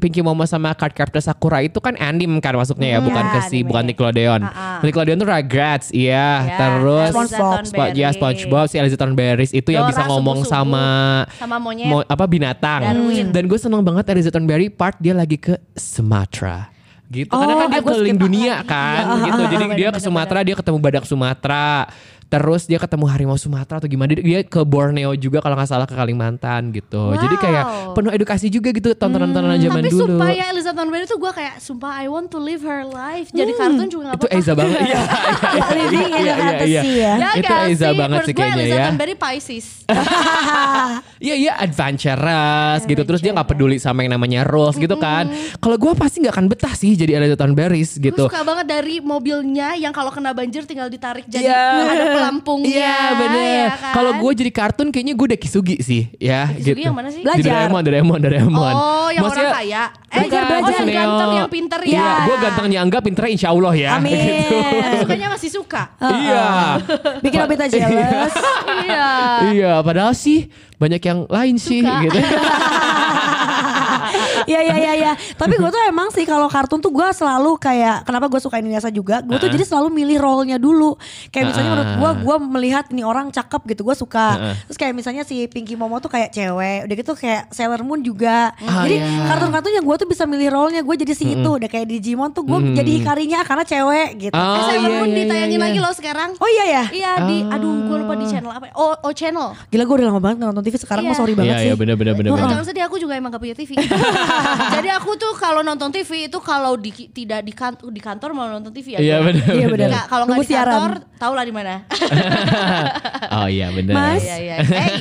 [SPEAKER 2] Pinky Momo sama Card Captain Sakura itu kan anime kan masuknya ya bukan
[SPEAKER 4] Iya,
[SPEAKER 2] ke si
[SPEAKER 4] anime.
[SPEAKER 2] bukan Nickelodeon.
[SPEAKER 4] Ah, ah.
[SPEAKER 2] Nickelodeon tuh Rugrats, iya.
[SPEAKER 4] Ya,
[SPEAKER 2] Terus
[SPEAKER 4] Elsa
[SPEAKER 3] SpongeBob.
[SPEAKER 2] Spo-
[SPEAKER 4] Thornberry.
[SPEAKER 2] ya SpongeBob si Elizabeth Berries itu yang
[SPEAKER 4] Dora,
[SPEAKER 2] bisa ngomong
[SPEAKER 4] Subu-Subu.
[SPEAKER 2] sama
[SPEAKER 4] Sama monyet.
[SPEAKER 2] mo- apa binatang.
[SPEAKER 4] Iya. Darwin.
[SPEAKER 2] Dan gue seneng banget Elizabeth Berry part dia lagi ke Sumatera gitu
[SPEAKER 3] Oh,
[SPEAKER 2] karena kan dia
[SPEAKER 3] eh, gua
[SPEAKER 2] keliling
[SPEAKER 3] skip
[SPEAKER 2] dunia
[SPEAKER 4] banget.
[SPEAKER 2] kan
[SPEAKER 4] ah, Iya.
[SPEAKER 2] gitu jadi
[SPEAKER 4] Bener,
[SPEAKER 2] dia ke
[SPEAKER 4] bener,
[SPEAKER 2] Sumatera dia ketemu badak Sumatera terus dia ketemu harimau Sumatera atau gimana dia, dia ke Borneo juga kalau nggak salah ke Kalimantan gitu jadi
[SPEAKER 4] Wow.
[SPEAKER 2] kayak penuh edukasi juga gitu tontonan-tontonan zaman
[SPEAKER 4] Tapi
[SPEAKER 2] dulu
[SPEAKER 4] sumpah ya Eliza Thornberry tuh gue kayak sumpah I want to live her life. Jadi kartun juga gak
[SPEAKER 2] itu
[SPEAKER 4] apa-apa.
[SPEAKER 2] Eiza
[SPEAKER 4] *laughs*
[SPEAKER 2] banget *laughs* iya
[SPEAKER 3] Living in
[SPEAKER 2] iya, iya, iya.
[SPEAKER 3] fantasy ya.
[SPEAKER 4] Ya
[SPEAKER 2] Itu
[SPEAKER 4] gak
[SPEAKER 2] Eiza
[SPEAKER 4] sih?
[SPEAKER 2] banget
[SPEAKER 4] Menurut
[SPEAKER 2] sih
[SPEAKER 4] gua
[SPEAKER 2] kayaknya
[SPEAKER 4] Eliza
[SPEAKER 2] ya.
[SPEAKER 4] Thornberry Pisces.
[SPEAKER 2] Iya iya adventurous gitu terus dia nggak peduli sama yang namanya rules gitu kan.
[SPEAKER 4] Hmm.
[SPEAKER 2] Kalau gua pasti nggak akan betah sih jadi Elizabeth Berries
[SPEAKER 4] Gue
[SPEAKER 2] gitu.
[SPEAKER 4] suka banget dari mobilnya yang kalau kena banjir tinggal ditarik jadi
[SPEAKER 2] Iya.
[SPEAKER 4] ada pelampungnya.
[SPEAKER 2] Iya bener.
[SPEAKER 4] ya kan?
[SPEAKER 2] Kalau gue jadi kartun kayaknya gue udah Kisugi sih ya
[SPEAKER 4] Kisugi
[SPEAKER 2] gitu.
[SPEAKER 4] yang mana sih?
[SPEAKER 2] Di
[SPEAKER 3] Belajar.
[SPEAKER 2] Doraemon, Doraemon, Doraemon.
[SPEAKER 4] Oh, yang
[SPEAKER 2] Maksudnya-
[SPEAKER 4] orang kaya. Eh,
[SPEAKER 2] Bukan,
[SPEAKER 4] belajar,
[SPEAKER 2] maksudnya
[SPEAKER 4] yang ganteng,
[SPEAKER 2] Neo.
[SPEAKER 4] yang pinter ya.
[SPEAKER 2] Iya, gue gantengnya anggap pinter insya Allah ya. *laughs*
[SPEAKER 3] Amin.
[SPEAKER 4] Yang sukanya masih suka.
[SPEAKER 2] Iya.
[SPEAKER 3] Bikin Obita jealous.
[SPEAKER 2] *laughs*
[SPEAKER 4] iya.
[SPEAKER 2] Iya, padahal sih banyak yang lain
[SPEAKER 4] *laughs*
[SPEAKER 2] sih
[SPEAKER 4] Suka.
[SPEAKER 2] gitu.
[SPEAKER 3] Iya iya iya iya. Tapi gue tuh emang sih kalau kartun tuh gue selalu kayak kenapa gue suka Indonesia juga. Gue tuh jadi selalu milih role-nya dulu. Kayak misalnya menurut gue gue melihat ini orang cakep gitu gue suka. Terus kayak misalnya si Pinky Momo tuh kayak cewek. Udah gitu kayak Sailor Moon juga.
[SPEAKER 2] Ah,
[SPEAKER 3] jadi
[SPEAKER 2] iya.
[SPEAKER 3] kartun-kartun yang gue tuh bisa milih role-nya gue jadi si itu. Udah kayak Digimon tuh gue jadi hikarinya karena cewek gitu.
[SPEAKER 2] Ah.
[SPEAKER 4] eh,
[SPEAKER 2] Oh,
[SPEAKER 4] Sailor
[SPEAKER 2] iya,
[SPEAKER 4] Moon
[SPEAKER 2] iya,
[SPEAKER 4] ditayangin
[SPEAKER 2] iya,
[SPEAKER 4] lagi
[SPEAKER 2] iya. Ah.
[SPEAKER 4] loh sekarang.
[SPEAKER 3] Oh iya ya.
[SPEAKER 4] Iya di, aduh gue lupa di channel apa. ya? Oh, oh channel.
[SPEAKER 3] Gila gue udah lama banget nggak nonton TV sekarang
[SPEAKER 4] Iya.
[SPEAKER 3] gue sorry banget
[SPEAKER 2] Iya,
[SPEAKER 3] sih.
[SPEAKER 2] iya bener bener bener.
[SPEAKER 4] Bukan
[SPEAKER 2] bener.
[SPEAKER 4] jangan sedih aku juga emang gak punya
[SPEAKER 2] *laughs*
[SPEAKER 4] TV. Jadi aku tuh kalau nonton TV itu kalau di, tidak di, kan- di kantor mau nonton TV ya.
[SPEAKER 2] Iya
[SPEAKER 4] gue-
[SPEAKER 2] bener
[SPEAKER 3] Iya,
[SPEAKER 2] bener.
[SPEAKER 3] bener.
[SPEAKER 4] Nggak, kalau nggak
[SPEAKER 3] Nunggu
[SPEAKER 4] di kantor,
[SPEAKER 3] siaran.
[SPEAKER 4] tau lah di
[SPEAKER 2] *laughs*
[SPEAKER 4] mana.
[SPEAKER 2] Oh iya bener.
[SPEAKER 3] Mas.
[SPEAKER 4] Iya iya. Hey.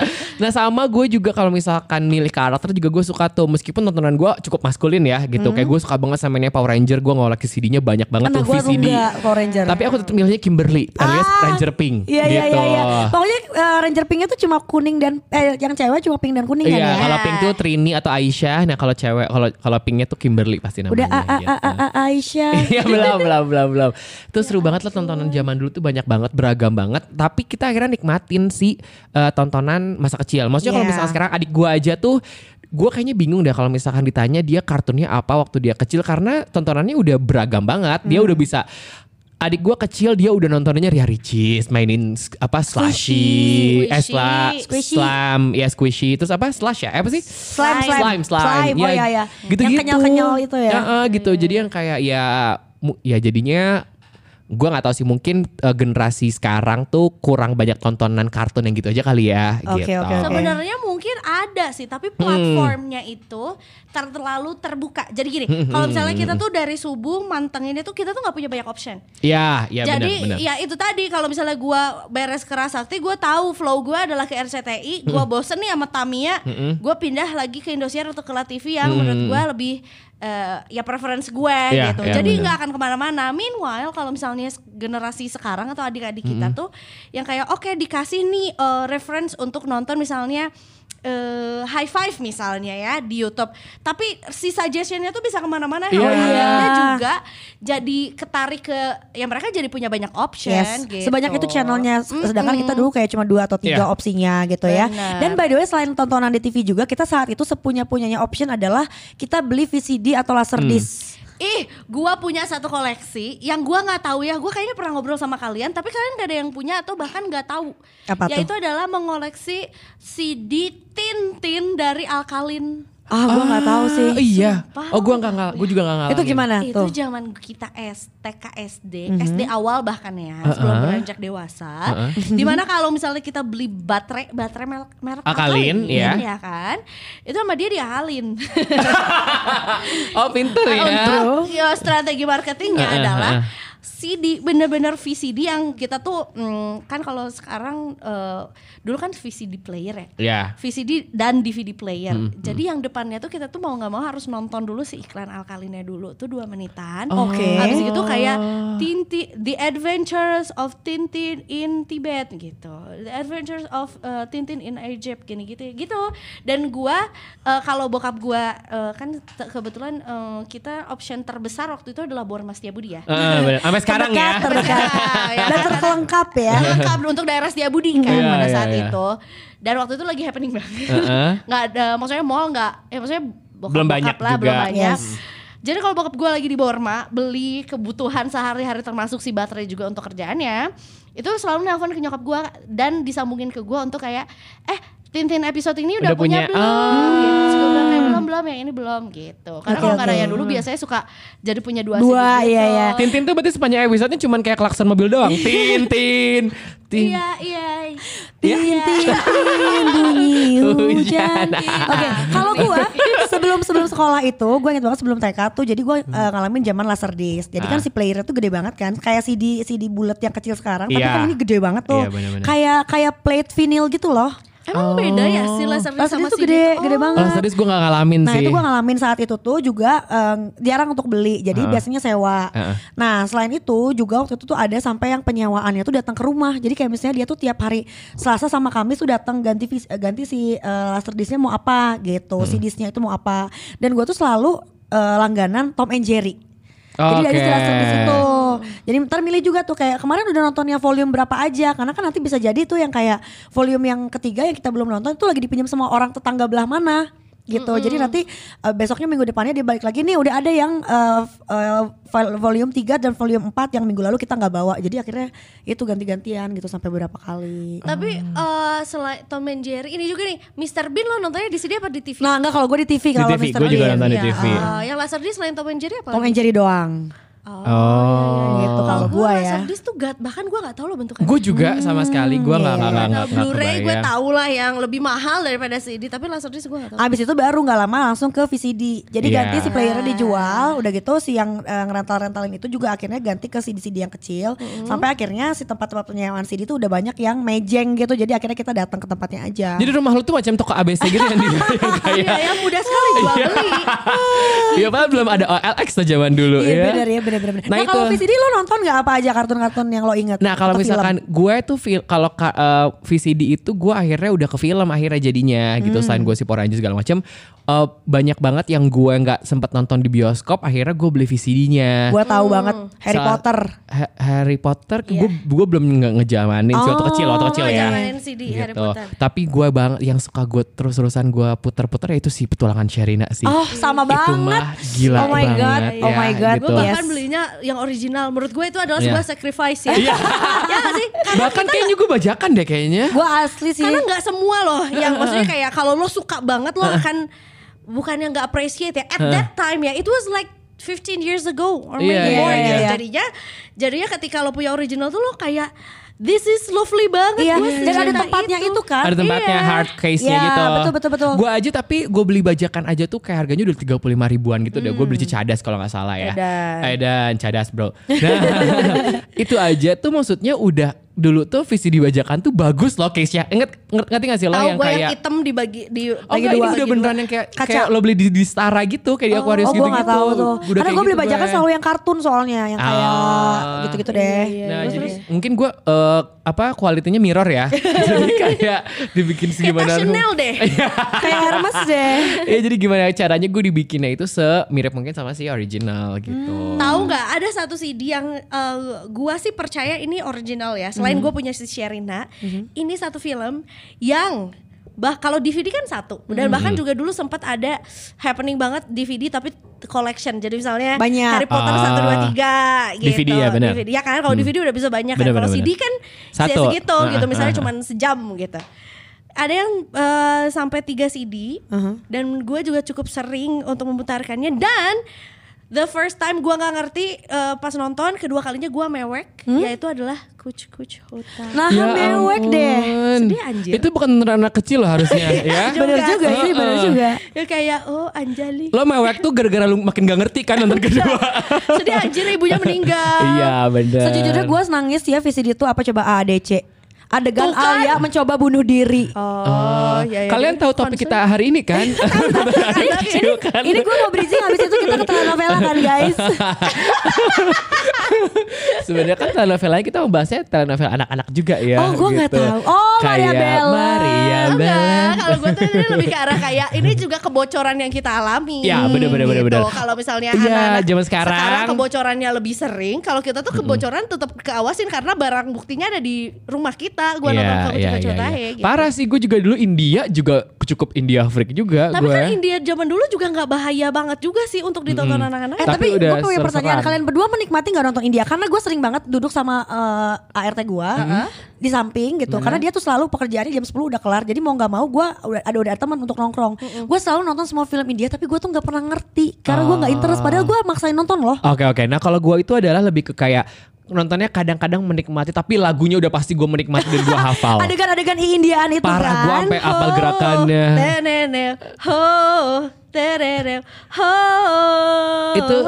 [SPEAKER 2] *laughs* Nah sama gue juga kalau misalkan milih karakter juga gue suka tuh meskipun tontonan gue cukup maskulin ya
[SPEAKER 4] Hmm.
[SPEAKER 2] gitu kayak gue suka banget sama ini Power Ranger gue ngoleksi CD-nya banyak banget
[SPEAKER 3] Nah
[SPEAKER 2] tuh
[SPEAKER 3] gue
[SPEAKER 2] VCD.
[SPEAKER 3] enggak Power Ranger.
[SPEAKER 2] Tapi aku tetap milihnya Kimberly alias Ranger Pink
[SPEAKER 3] Iya iya
[SPEAKER 2] gitu.
[SPEAKER 3] iya iya. Pokoknya eh, Ranger Pinknya tuh cuma kuning dan eh, yang cewek cuma pink dan kuning
[SPEAKER 2] Iya,
[SPEAKER 3] kan ya.
[SPEAKER 2] kalau pink tuh Trini atau Aisyah. Nah, kalau cewek kalau kalau pinknya tuh Kimberly pasti namanya.
[SPEAKER 3] Udah ah, a a
[SPEAKER 2] gitu.
[SPEAKER 3] a a, a- Aisyah.
[SPEAKER 2] *laughs* Iya belum belum belum belum. Terus
[SPEAKER 3] Ya
[SPEAKER 2] seru banget loh tontonan zaman dulu tuh banyak banget beragam banget. Tapi kita akhirnya nikmatin si eh, tontonan masa kecil. Maksudnya kalau
[SPEAKER 3] Iya.
[SPEAKER 2] misalnya sekarang adik gua aja tuh gua kayaknya bingung deh kalau misalkan ditanya dia kartunnya apa waktu dia kecil karena tontonannya udah beragam banget.
[SPEAKER 3] Hmm.
[SPEAKER 2] Dia udah bisa Adik gua kecil dia udah nontonnya Ria Ricis, mainin s- apa slushy, eh
[SPEAKER 4] Squishy.
[SPEAKER 2] sla,
[SPEAKER 3] Squishy.
[SPEAKER 2] slam, ya squishy, terus apa slush ya, apa sih?
[SPEAKER 3] Slime, slime,
[SPEAKER 2] slime, slime,
[SPEAKER 3] slime. Oh, iya, iya.
[SPEAKER 2] gitu
[SPEAKER 3] Yang kenyal-kenyal itu ya.
[SPEAKER 2] Heeh, gitu. Jadi yang kayak ya mu- ya jadinya gue nggak tahu sih mungkin eh, generasi sekarang tuh kurang banyak tontonan kartun yang gitu aja kali ya
[SPEAKER 3] Oke,
[SPEAKER 2] gitu.
[SPEAKER 3] oke, oke.
[SPEAKER 4] Sebenarnya mungkin mungkin ada sih
[SPEAKER 2] Hmm.
[SPEAKER 4] tapi platformnya itu ter- terlalu terbuka jadi gini kalau misalnya
[SPEAKER 2] Hmm.
[SPEAKER 4] kita tuh dari subuh mantenginnya tuh kita tuh nggak punya banyak option
[SPEAKER 2] Ya, ya
[SPEAKER 4] Jadi
[SPEAKER 2] benar, benar.
[SPEAKER 3] iya,
[SPEAKER 4] ya itu tadi kalau misalnya gua beres ke Rasakti gua tahu flow gua adalah ke RCTI, gua bosen nih sama Tamia, gua pindah lagi ke Indosiar atau ke La TV yang menurut gua lebih eh, ya preference gue
[SPEAKER 2] Iya,
[SPEAKER 4] gitu.
[SPEAKER 2] iya,
[SPEAKER 4] Jadi
[SPEAKER 2] benar.
[SPEAKER 4] nggak akan kemana-mana. Meanwhile kalau misalnya s- generasi sekarang atau adik-adik kita tuh yang kayak oke dikasih nih eh, reference untuk nonton misalnya eh, high five misalnya ya di YouTube, tapi si suggestionnya tuh bisa kemana-mana.
[SPEAKER 2] Iya.
[SPEAKER 4] Algoritmanya
[SPEAKER 3] Iya.
[SPEAKER 4] Kan juga jadi ketarik ke ya mereka jadi punya banyak option
[SPEAKER 3] Yes,
[SPEAKER 4] gitu.
[SPEAKER 3] sebanyak itu channelnya. Sedangkan kita dulu kayak cuma dua atau tiga
[SPEAKER 2] Iya.
[SPEAKER 3] opsinya gitu ya.
[SPEAKER 4] Benar.
[SPEAKER 3] Dan by the way selain tontonan di TV juga kita saat itu sepunya punyanya option adalah kita beli VCD atau
[SPEAKER 2] Hmm.
[SPEAKER 3] laserdisc.
[SPEAKER 4] Ih, gua punya satu koleksi yang gua nggak tahu ya. Gua kayaknya pernah ngobrol sama kalian, tapi kalian gak ada yang punya atau bahkan nggak tahu.
[SPEAKER 3] Apa tuh?
[SPEAKER 4] Yaitu adalah mengoleksi CD Tintin dari Alkalin.
[SPEAKER 3] Ah, gua nggak tahu sih.
[SPEAKER 2] Iya.
[SPEAKER 4] Sumpah.
[SPEAKER 2] Oh, gua enggak ngal, gua juga enggak ngalamin.
[SPEAKER 3] Itu gimana
[SPEAKER 4] Itu
[SPEAKER 3] Nah, tuh?
[SPEAKER 4] zaman kita S, TK SD, SD awal bahkan ya, sebelum
[SPEAKER 2] Uh-uh.
[SPEAKER 4] beranjak dewasa. Dimana kalau misalnya kita beli baterai, baterai merek, merek
[SPEAKER 2] Alkaline,
[SPEAKER 4] ya.
[SPEAKER 2] ya.
[SPEAKER 4] kan? Itu sama dia dihalin.
[SPEAKER 2] Oh, pinter ya.
[SPEAKER 4] Untuk ya, strategi marketingnya
[SPEAKER 2] Uh-uh,
[SPEAKER 4] adalah
[SPEAKER 2] uh-uh.
[SPEAKER 4] CD bener-bener VCD yang kita tuh mm, kan kalau sekarang eh, dulu kan VCD player ya.
[SPEAKER 2] Ya.
[SPEAKER 4] VCD dan DVD player. Jadi yang depannya tuh kita tuh mau nggak mau harus nonton dulu si iklan alkalinnya dulu tuh dua menitan.
[SPEAKER 3] Oke.
[SPEAKER 4] Habis itu kayak Tintin The Adventures of Tintin in Tibet gitu. The Adventures of uh, Tintin in Egypt gini gitu gitu. Dan gua uh, kalau bokap gua uh, kan te- kebetulan uh, kita option terbesar waktu itu adalah Bor Mas Tiabudi ya.
[SPEAKER 2] Eh, benar. Sampai sekarang ya.
[SPEAKER 3] Terdekat, terdekat.
[SPEAKER 4] *laughs* Ya.
[SPEAKER 3] Dan terkelengkap ya.
[SPEAKER 2] *laughs*
[SPEAKER 4] lengkap untuk daerah Setiabudi kan
[SPEAKER 2] Iya,
[SPEAKER 4] pada
[SPEAKER 2] iya,
[SPEAKER 4] saat
[SPEAKER 2] iya.
[SPEAKER 4] itu dan waktu itu lagi happening banget
[SPEAKER 2] Heeh.
[SPEAKER 4] *laughs* nggak ada maksudnya mall nggak ya maksudnya bokap,
[SPEAKER 2] Belum banyak
[SPEAKER 4] lah,
[SPEAKER 2] juga.
[SPEAKER 4] belum banyak
[SPEAKER 3] Yes.
[SPEAKER 4] jadi kalau bokap gue lagi di Borma beli kebutuhan sehari-hari termasuk si baterai juga untuk kerjaannya itu selalu nelpon ke nyokap gue dan disambungin ke gue untuk kayak eh Tintin episode ini udah,
[SPEAKER 2] Udah
[SPEAKER 4] punya,
[SPEAKER 2] punya.
[SPEAKER 4] belum? Gitu. Terus gua bilang, "Eh, belum belum yang ini belum gitu. Karena
[SPEAKER 3] Oke,
[SPEAKER 4] kalau nggak
[SPEAKER 3] oke.
[SPEAKER 4] nanya dulu biasanya suka jadi punya dua,
[SPEAKER 3] Dua,
[SPEAKER 4] CD
[SPEAKER 3] iya, iya.
[SPEAKER 4] gitu.
[SPEAKER 2] Tintin tuh berarti sepanjang episode-nya cuman kayak klakson mobil doang. Tin tin. Tin.
[SPEAKER 4] Iya iya.
[SPEAKER 2] Ya. *laughs*
[SPEAKER 3] Tintin bunyi
[SPEAKER 2] Oh,
[SPEAKER 3] hujan.
[SPEAKER 2] Hujan.
[SPEAKER 3] Oke, kalau gua sebelum sebelum sekolah itu, gua inget banget sebelum TK tuh, jadi gua eh, ngalamin zaman laserdisc. Jadi kan
[SPEAKER 2] Hmm.
[SPEAKER 3] si
[SPEAKER 2] Ah.
[SPEAKER 3] player tuh gede banget kan, kayak CD CD bulat yang kecil sekarang, tapi
[SPEAKER 2] Iya.
[SPEAKER 3] kan ini gede banget tuh.
[SPEAKER 2] Iya, benar-benar.
[SPEAKER 3] Kayak kayak plate vinyl gitu loh.
[SPEAKER 4] Emang beda ya si Oh. laser sama
[SPEAKER 3] Laserdisc Oh. tuh
[SPEAKER 4] CD
[SPEAKER 3] gede
[SPEAKER 4] tuh?
[SPEAKER 3] gede banget.
[SPEAKER 2] Kalau Oh, serius gue gak ngalamin
[SPEAKER 3] Nah
[SPEAKER 2] sih.
[SPEAKER 3] itu gue ngalamin saat itu tuh juga em, jarang untuk beli, jadi
[SPEAKER 2] Heeh.
[SPEAKER 3] biasanya sewa.
[SPEAKER 2] Heeh.
[SPEAKER 3] Nah selain itu juga waktu itu tuh ada sampai yang penyewaannya tuh datang ke rumah. Jadi kayak misalnya dia tuh tiap hari Selasa sama Kamis tuh datang ganti vis- eh, ganti si uh, laserdiscnya mau apa gitu,
[SPEAKER 2] Hmm.
[SPEAKER 3] si disknya itu mau apa. Dan gue tuh selalu eh, langganan Tom and Jerry. Jadi dari
[SPEAKER 2] Oke.
[SPEAKER 3] si laserdisc itu. Oh,
[SPEAKER 2] Hmm.
[SPEAKER 3] Jadi ntar milih juga tuh kayak kemarin udah nontonnya volume berapa aja karena kan nanti bisa jadi tuh yang kayak volume yang ketiga yang kita belum nonton itu lagi dipinjam sama orang tetangga belah mana gitu. Jadi nanti uh, besoknya minggu depannya dia balik lagi nih udah ada yang uh, f- uh, file- volume 3 dan volume 4 yang minggu lalu kita nggak bawa. Jadi akhirnya itu ganti-gantian gitu sampai berapa kali.
[SPEAKER 4] Tapi eh selain Tom and Jerry ini juga nih Mr. Bean lo nontonnya di sini apa di TV?
[SPEAKER 3] Nah, enggak kalau gue di TV
[SPEAKER 2] Di
[SPEAKER 3] kalau
[SPEAKER 2] TV,
[SPEAKER 3] Mr.
[SPEAKER 2] gue juga
[SPEAKER 3] Bean.
[SPEAKER 2] nonton di
[SPEAKER 3] Iya.
[SPEAKER 2] TV.
[SPEAKER 4] Eh, yang Laserdisc selain Tom and Jerry apa?
[SPEAKER 3] Tom and Jerry doang.
[SPEAKER 2] Oh.
[SPEAKER 3] Iya, Gitu kalau
[SPEAKER 4] Gua
[SPEAKER 3] gue ya.
[SPEAKER 4] Laserdisc tuh gak, bahkan gue gak tau lo bentuknya.
[SPEAKER 2] Gue juga sama sekali gue nggak nggak nggak
[SPEAKER 4] Nah,
[SPEAKER 3] Hmm.
[SPEAKER 2] nggak nggak
[SPEAKER 4] Blu-ray gue
[SPEAKER 2] kebayang.
[SPEAKER 4] tau lah yang lebih mahal daripada CD, tapi Laserdisc gue gak tau.
[SPEAKER 3] Abis itu baru nggak lama langsung ke VCD. Jadi
[SPEAKER 2] Iya.
[SPEAKER 3] ganti si playernya
[SPEAKER 4] Ah.
[SPEAKER 3] dijual, udah gitu si yang eh, ngerental-rentalin itu juga akhirnya ganti ke CD-CD yang kecil. Sampai akhirnya si tempat-tempat penyewaan CD itu udah banyak yang mejeng gitu. Jadi akhirnya kita datang ke tempatnya aja.
[SPEAKER 4] *laughs*
[SPEAKER 2] Jadi rumah lu tuh macam toko ABC gitu
[SPEAKER 3] *laughs*
[SPEAKER 2] yang di yang
[SPEAKER 4] Iya,
[SPEAKER 2] kayak.
[SPEAKER 4] yang mudah sekali jual
[SPEAKER 2] Iya.
[SPEAKER 4] beli.
[SPEAKER 2] Iya padahal belum ada OLX tuh zaman dulu
[SPEAKER 3] Iya
[SPEAKER 2] ya.
[SPEAKER 3] bener ya bener bener.
[SPEAKER 2] Nah,
[SPEAKER 3] Nah, kalau
[SPEAKER 2] itu.
[SPEAKER 3] VCD lo nonton nggak apa aja kartun-kartun yang lo inget?
[SPEAKER 2] Nah kalau
[SPEAKER 3] Atau film?
[SPEAKER 2] misalkan gue tuh fil- kalau ka- eh, VCD itu gue akhirnya udah ke film akhirnya jadinya gitu
[SPEAKER 3] Hmm.
[SPEAKER 2] selain gue si Power Rangers segala macam eh, banyak banget yang gue nggak sempet nonton di bioskop akhirnya gue beli VCD-nya.
[SPEAKER 3] Gua
[SPEAKER 4] Hmm.
[SPEAKER 3] tahu banget Harry
[SPEAKER 2] Saat-
[SPEAKER 3] Potter. Iya.
[SPEAKER 2] Ha- Harry Potter gue gue belum nge- ngejamanin sih waktu
[SPEAKER 3] Oh,
[SPEAKER 2] kecil waktu kecil ya.
[SPEAKER 4] ngejamanin
[SPEAKER 3] Ah,
[SPEAKER 4] CD Harry Potter.
[SPEAKER 2] Tapi gue banget yang suka gue terus-terusan gue puter-puter ya itu si petualangan Sherina sih.
[SPEAKER 3] Oh sama
[SPEAKER 2] itu
[SPEAKER 3] banget.
[SPEAKER 2] mah gila
[SPEAKER 3] Oh my
[SPEAKER 2] banget
[SPEAKER 3] god. Oh
[SPEAKER 2] ya,
[SPEAKER 3] my god.
[SPEAKER 2] gitu.
[SPEAKER 4] Gue bahkan
[SPEAKER 3] Yes.
[SPEAKER 4] Kan belinya yang original. Menurut gue itu adalah
[SPEAKER 2] Iya.
[SPEAKER 4] sebuah sacrifice *laughs* ya. Iya gak sih? Karena
[SPEAKER 2] Bahkan kayaknya gue bajakan deh kayaknya.
[SPEAKER 3] Gue asli sih.
[SPEAKER 4] Karena nggak semua loh yang maksudnya kayak kalau lo suka banget lo akan bukan yang nggak appreciate ya. At that time ya it was like 15 years ago or maybe
[SPEAKER 2] Iya,
[SPEAKER 3] iya,
[SPEAKER 4] more
[SPEAKER 3] iya,
[SPEAKER 4] gitu.
[SPEAKER 3] iya.
[SPEAKER 4] Jadinya jadinya ketika lo punya original tuh lo kayak this is lovely banget
[SPEAKER 3] Iya,
[SPEAKER 4] gua
[SPEAKER 3] dan ada
[SPEAKER 4] secinta
[SPEAKER 3] tempatnya itu, kan.
[SPEAKER 2] Ada tempatnya
[SPEAKER 4] Iya.
[SPEAKER 2] hard case-nya
[SPEAKER 3] Iya,
[SPEAKER 2] gitu.
[SPEAKER 3] betul, betul, betul.
[SPEAKER 2] Gue aja tapi gue beli bajakan aja tuh kayak harganya udah 35 ribuan gitu deh. Gue beli
[SPEAKER 3] Hmm.
[SPEAKER 2] di cadas kalau nggak salah ya.
[SPEAKER 4] Edan.
[SPEAKER 2] Edan, cadas bro. Nah, *laughs* itu aja tuh maksudnya udah dulu tuh visi di bajakan tuh bagus loh case-nya. Ingat ngerti ngerti nggak sih lo
[SPEAKER 4] Tahu
[SPEAKER 2] yang
[SPEAKER 4] gue yang
[SPEAKER 2] kayak
[SPEAKER 4] hitam dibagi di bagi
[SPEAKER 2] Oh enggak, ini
[SPEAKER 4] dua. gitu.
[SPEAKER 2] udah
[SPEAKER 4] Bagi
[SPEAKER 2] beneran
[SPEAKER 4] dua.
[SPEAKER 2] yang kayak
[SPEAKER 3] gitu. Kaca.
[SPEAKER 2] kayak lo beli di, di Stara gitu kayak di Aquarius
[SPEAKER 3] oh,
[SPEAKER 2] gitu.
[SPEAKER 3] gue gak tahu tuh. Karena gue beli
[SPEAKER 4] gitu,
[SPEAKER 3] bajakan selalu yang kartun soalnya, yang kayak
[SPEAKER 2] Ah.
[SPEAKER 3] gitu-gitu deh.
[SPEAKER 4] Iya,
[SPEAKER 2] Nah,
[SPEAKER 4] terus-
[SPEAKER 2] jadi mungkin gue eh, apa kualitinya mirror ya. *laughs* jadi kayak dibikin
[SPEAKER 4] Kayak
[SPEAKER 2] segimana
[SPEAKER 4] tas Chanel deh.
[SPEAKER 3] *laughs* kayak Hermes deh.
[SPEAKER 2] ya jadi gimana caranya gue dibikinnya itu semirip mungkin sama si original gitu.
[SPEAKER 4] Tahu nggak ada satu CD yang eh, gua sih percaya ini original ya. Selain
[SPEAKER 2] Mhm.
[SPEAKER 4] gua punya si Sherina, ini satu film yang bah kalau DVD kan satu dan
[SPEAKER 2] Mhm.
[SPEAKER 4] bahkan juga dulu sempat ada happening banget DVD tapi collection. Jadi misalnya
[SPEAKER 3] Banyak.
[SPEAKER 4] Harry Potter
[SPEAKER 2] Ah.
[SPEAKER 4] 1 2 3 gitu.
[SPEAKER 2] DVD ya, benar.
[SPEAKER 4] DVD ya kan kalau DVD udah bisa banyak
[SPEAKER 2] Benar,
[SPEAKER 4] kan. Kalau
[SPEAKER 2] benar,
[SPEAKER 4] CD
[SPEAKER 2] benar.
[SPEAKER 4] kan
[SPEAKER 2] Satu.
[SPEAKER 4] segitu gitu
[SPEAKER 2] Ah,
[SPEAKER 4] misalnya
[SPEAKER 2] ah,
[SPEAKER 4] cuman sejam gitu. Ada yang eh, sampai tiga CD
[SPEAKER 3] Uh-huh.
[SPEAKER 4] dan gue juga cukup sering untuk memutarkannya dan the first time gue nggak ngerti eh, pas nonton kedua kalinya gue mewek yaitu adalah kuch kuch hotel.
[SPEAKER 3] Hmm? Nah, mewek deh.
[SPEAKER 2] Ya ampun.
[SPEAKER 4] Sedih, anjir.
[SPEAKER 2] Itu bukan anak kecil loh
[SPEAKER 4] *laughs*
[SPEAKER 2] harusnya ya.
[SPEAKER 3] Bener juga sih, bener
[SPEAKER 2] Heeh.
[SPEAKER 3] juga.
[SPEAKER 4] Ya kayak oh Anjali.
[SPEAKER 2] Lo mewek tuh gara-gara lu makin gak ngerti kan nonton kedua.
[SPEAKER 4] *laughs* Sedih anjir ibunya meninggal.
[SPEAKER 2] Iya bener.
[SPEAKER 3] Sejujurnya gue nangis ya VCD itu apa coba AADC. Adegan
[SPEAKER 4] Tuh kan.
[SPEAKER 3] Alia mencoba bunuh diri.
[SPEAKER 4] Oh, ya, ya,
[SPEAKER 2] Eh, Kalian
[SPEAKER 4] dia
[SPEAKER 2] tahu topik
[SPEAKER 4] concern.
[SPEAKER 2] kita hari ini
[SPEAKER 4] *laughs*
[SPEAKER 2] kan?
[SPEAKER 3] ini ini,
[SPEAKER 4] Kan.
[SPEAKER 3] ini gue mau bridging habis itu kita ke telenovela kan guys.
[SPEAKER 4] *laughs*
[SPEAKER 2] Sebenarnya kan telenovelanya kita membahasnya telenovel anak-anak juga ya.
[SPEAKER 3] Oh, gua nggak
[SPEAKER 2] gitu.
[SPEAKER 3] tahu. Oh, Maria
[SPEAKER 2] Kayak
[SPEAKER 3] Bella.
[SPEAKER 2] Maria Bella.
[SPEAKER 4] Enggak, kan? kalau gue tuh ini lebih ke arah kayak ini juga kebocoran yang kita alami.
[SPEAKER 2] Ya, bener, bener, bener,
[SPEAKER 4] Gitu.
[SPEAKER 2] bener.
[SPEAKER 4] Kalau misalnya
[SPEAKER 2] Iya,
[SPEAKER 4] anak-anak
[SPEAKER 2] zaman sekarang.
[SPEAKER 4] kebocorannya lebih sering, kalau kita tuh kebocoran tetap keawasin karena barang buktinya ada di rumah kita. Gue
[SPEAKER 2] Iya,
[SPEAKER 4] nonton gitu. kamu
[SPEAKER 2] iya,
[SPEAKER 4] coba
[SPEAKER 2] iya,
[SPEAKER 4] coba
[SPEAKER 2] iya. Parah sih gue juga dulu India juga cukup India freak juga
[SPEAKER 4] Tapi
[SPEAKER 2] gue.
[SPEAKER 4] kan India zaman dulu juga nggak bahaya banget juga sih untuk ditonton anak-anak.
[SPEAKER 3] Eh
[SPEAKER 4] Eh,
[SPEAKER 2] Tapi
[SPEAKER 3] tapi,
[SPEAKER 2] udah
[SPEAKER 3] gue punya pertanyaan
[SPEAKER 2] serem-serem.
[SPEAKER 3] kalian berdua menikmati nggak nonton India? Karena gue sering banget duduk sama eh, ART gue
[SPEAKER 2] Mm-hmm.
[SPEAKER 3] di samping gitu. Karena dia tuh selalu pekerjaannya jam 10 udah kelar. Jadi mau nggak mau gue udah ada udah teman untuk nongkrong. Gue selalu nonton semua film India tapi gue tuh nggak pernah ngerti karena gue
[SPEAKER 2] Ah.
[SPEAKER 3] nggak interest. Padahal gue maksain nonton loh.
[SPEAKER 2] Oke oke. Nah kalau gue itu adalah lebih ke kayak nontonnya kadang-kadang menikmati tapi lagunya udah pasti gue menikmati dan gue
[SPEAKER 3] *laughs*
[SPEAKER 2] hafal.
[SPEAKER 3] Adegan-adegan Indiaan itu
[SPEAKER 2] Oh. Parah,
[SPEAKER 3] kan.
[SPEAKER 2] gua sampai apal gerakannya.
[SPEAKER 4] Tenene, ho, tenene, ho.
[SPEAKER 2] Itu-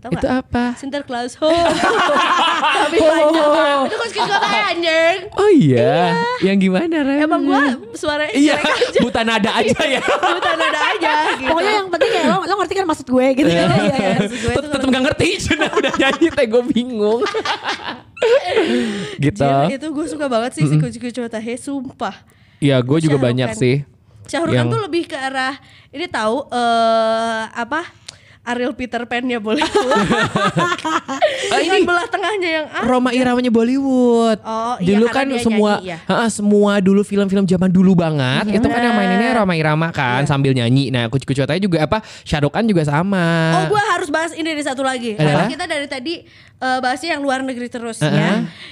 [SPEAKER 4] Tau
[SPEAKER 2] itu
[SPEAKER 4] nggak?
[SPEAKER 2] apa?
[SPEAKER 4] Sinterklaas ho. Tapi banyak. Itu kan kita anjing.
[SPEAKER 2] Oh iya. Yang gimana Ren?
[SPEAKER 4] Emang gua suaranya
[SPEAKER 2] Iya.
[SPEAKER 4] jelek aja.
[SPEAKER 2] Buta nada aja ya.
[SPEAKER 4] Buta nada aja gitu.
[SPEAKER 3] Pokoknya yang penting kayak lo, lo ngerti kan maksud gue gitu. Iya, iya,
[SPEAKER 2] *laughs*
[SPEAKER 3] iya.
[SPEAKER 4] maksud gue itu
[SPEAKER 2] Tetep gak
[SPEAKER 4] *laughs*
[SPEAKER 2] ngerti Cina udah nyanyi teh gue bingung. *laughs* gitu. Hmm.
[SPEAKER 4] Jin, itu gue suka banget sih si Kucu Kucu Tahe, sumpah.
[SPEAKER 2] Iya gue juga
[SPEAKER 4] Syahrukan.
[SPEAKER 2] banyak sih.
[SPEAKER 4] Syahrukan
[SPEAKER 2] Yang-
[SPEAKER 4] tuh lebih ke arah ini tahu eh apa? Ariel Peter Pan ya boleh
[SPEAKER 2] *laughs*
[SPEAKER 4] keluar. Dengan
[SPEAKER 2] Ah, ini-
[SPEAKER 4] belah tengahnya yang ah,
[SPEAKER 2] Roma Iramanya Bollywood.
[SPEAKER 4] Oh, iya,
[SPEAKER 2] dulu
[SPEAKER 4] karena
[SPEAKER 2] kan
[SPEAKER 4] dia
[SPEAKER 2] semua
[SPEAKER 4] nyanyi, ya.
[SPEAKER 2] Ha-ha, semua dulu film-film zaman dulu banget. Itu kan yang maininnya Roma Irama kan
[SPEAKER 4] Iya.
[SPEAKER 2] sambil nyanyi. Nah, kucu kucu juga apa? Shahrukh Khan juga sama.
[SPEAKER 4] Oh gue harus bahas ini di satu lagi
[SPEAKER 2] Adalah?
[SPEAKER 4] Apa Kita dari tadi eh, bahasnya yang luar negeri terus
[SPEAKER 2] Uh-uh.
[SPEAKER 4] ya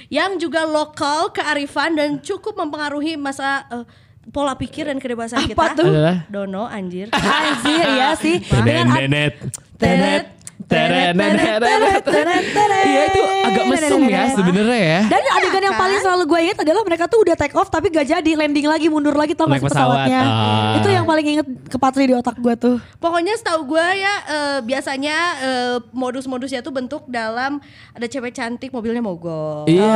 [SPEAKER 4] Yang juga lokal kearifan dan cukup mempengaruhi masa eh, pola pikir dan kedewasaan kita
[SPEAKER 3] Apa tuh?
[SPEAKER 2] Adalah?
[SPEAKER 4] Dono anjir
[SPEAKER 3] *laughs* Anjir ya sih. Dengan ad-
[SPEAKER 2] Tenet, tenet, tenet, tenet, tenet, tenet. Iya itu agak mesum ya sebenarnya ya.
[SPEAKER 3] Dan adegan yang paling selalu gue inget adalah mereka tuh udah take off tapi gak jadi landing lagi mundur lagi tau gak
[SPEAKER 2] Naik
[SPEAKER 3] sih
[SPEAKER 2] pesawat.
[SPEAKER 3] pesawatnya.
[SPEAKER 2] Ah.
[SPEAKER 3] Itu yang paling inget kepatri di otak gue tuh.
[SPEAKER 4] Pokoknya setahu gue ya eh, biasanya eh, modus-modusnya tuh bentuk dalam ada cewek cantik mobilnya mogok. Oh.
[SPEAKER 2] Iya.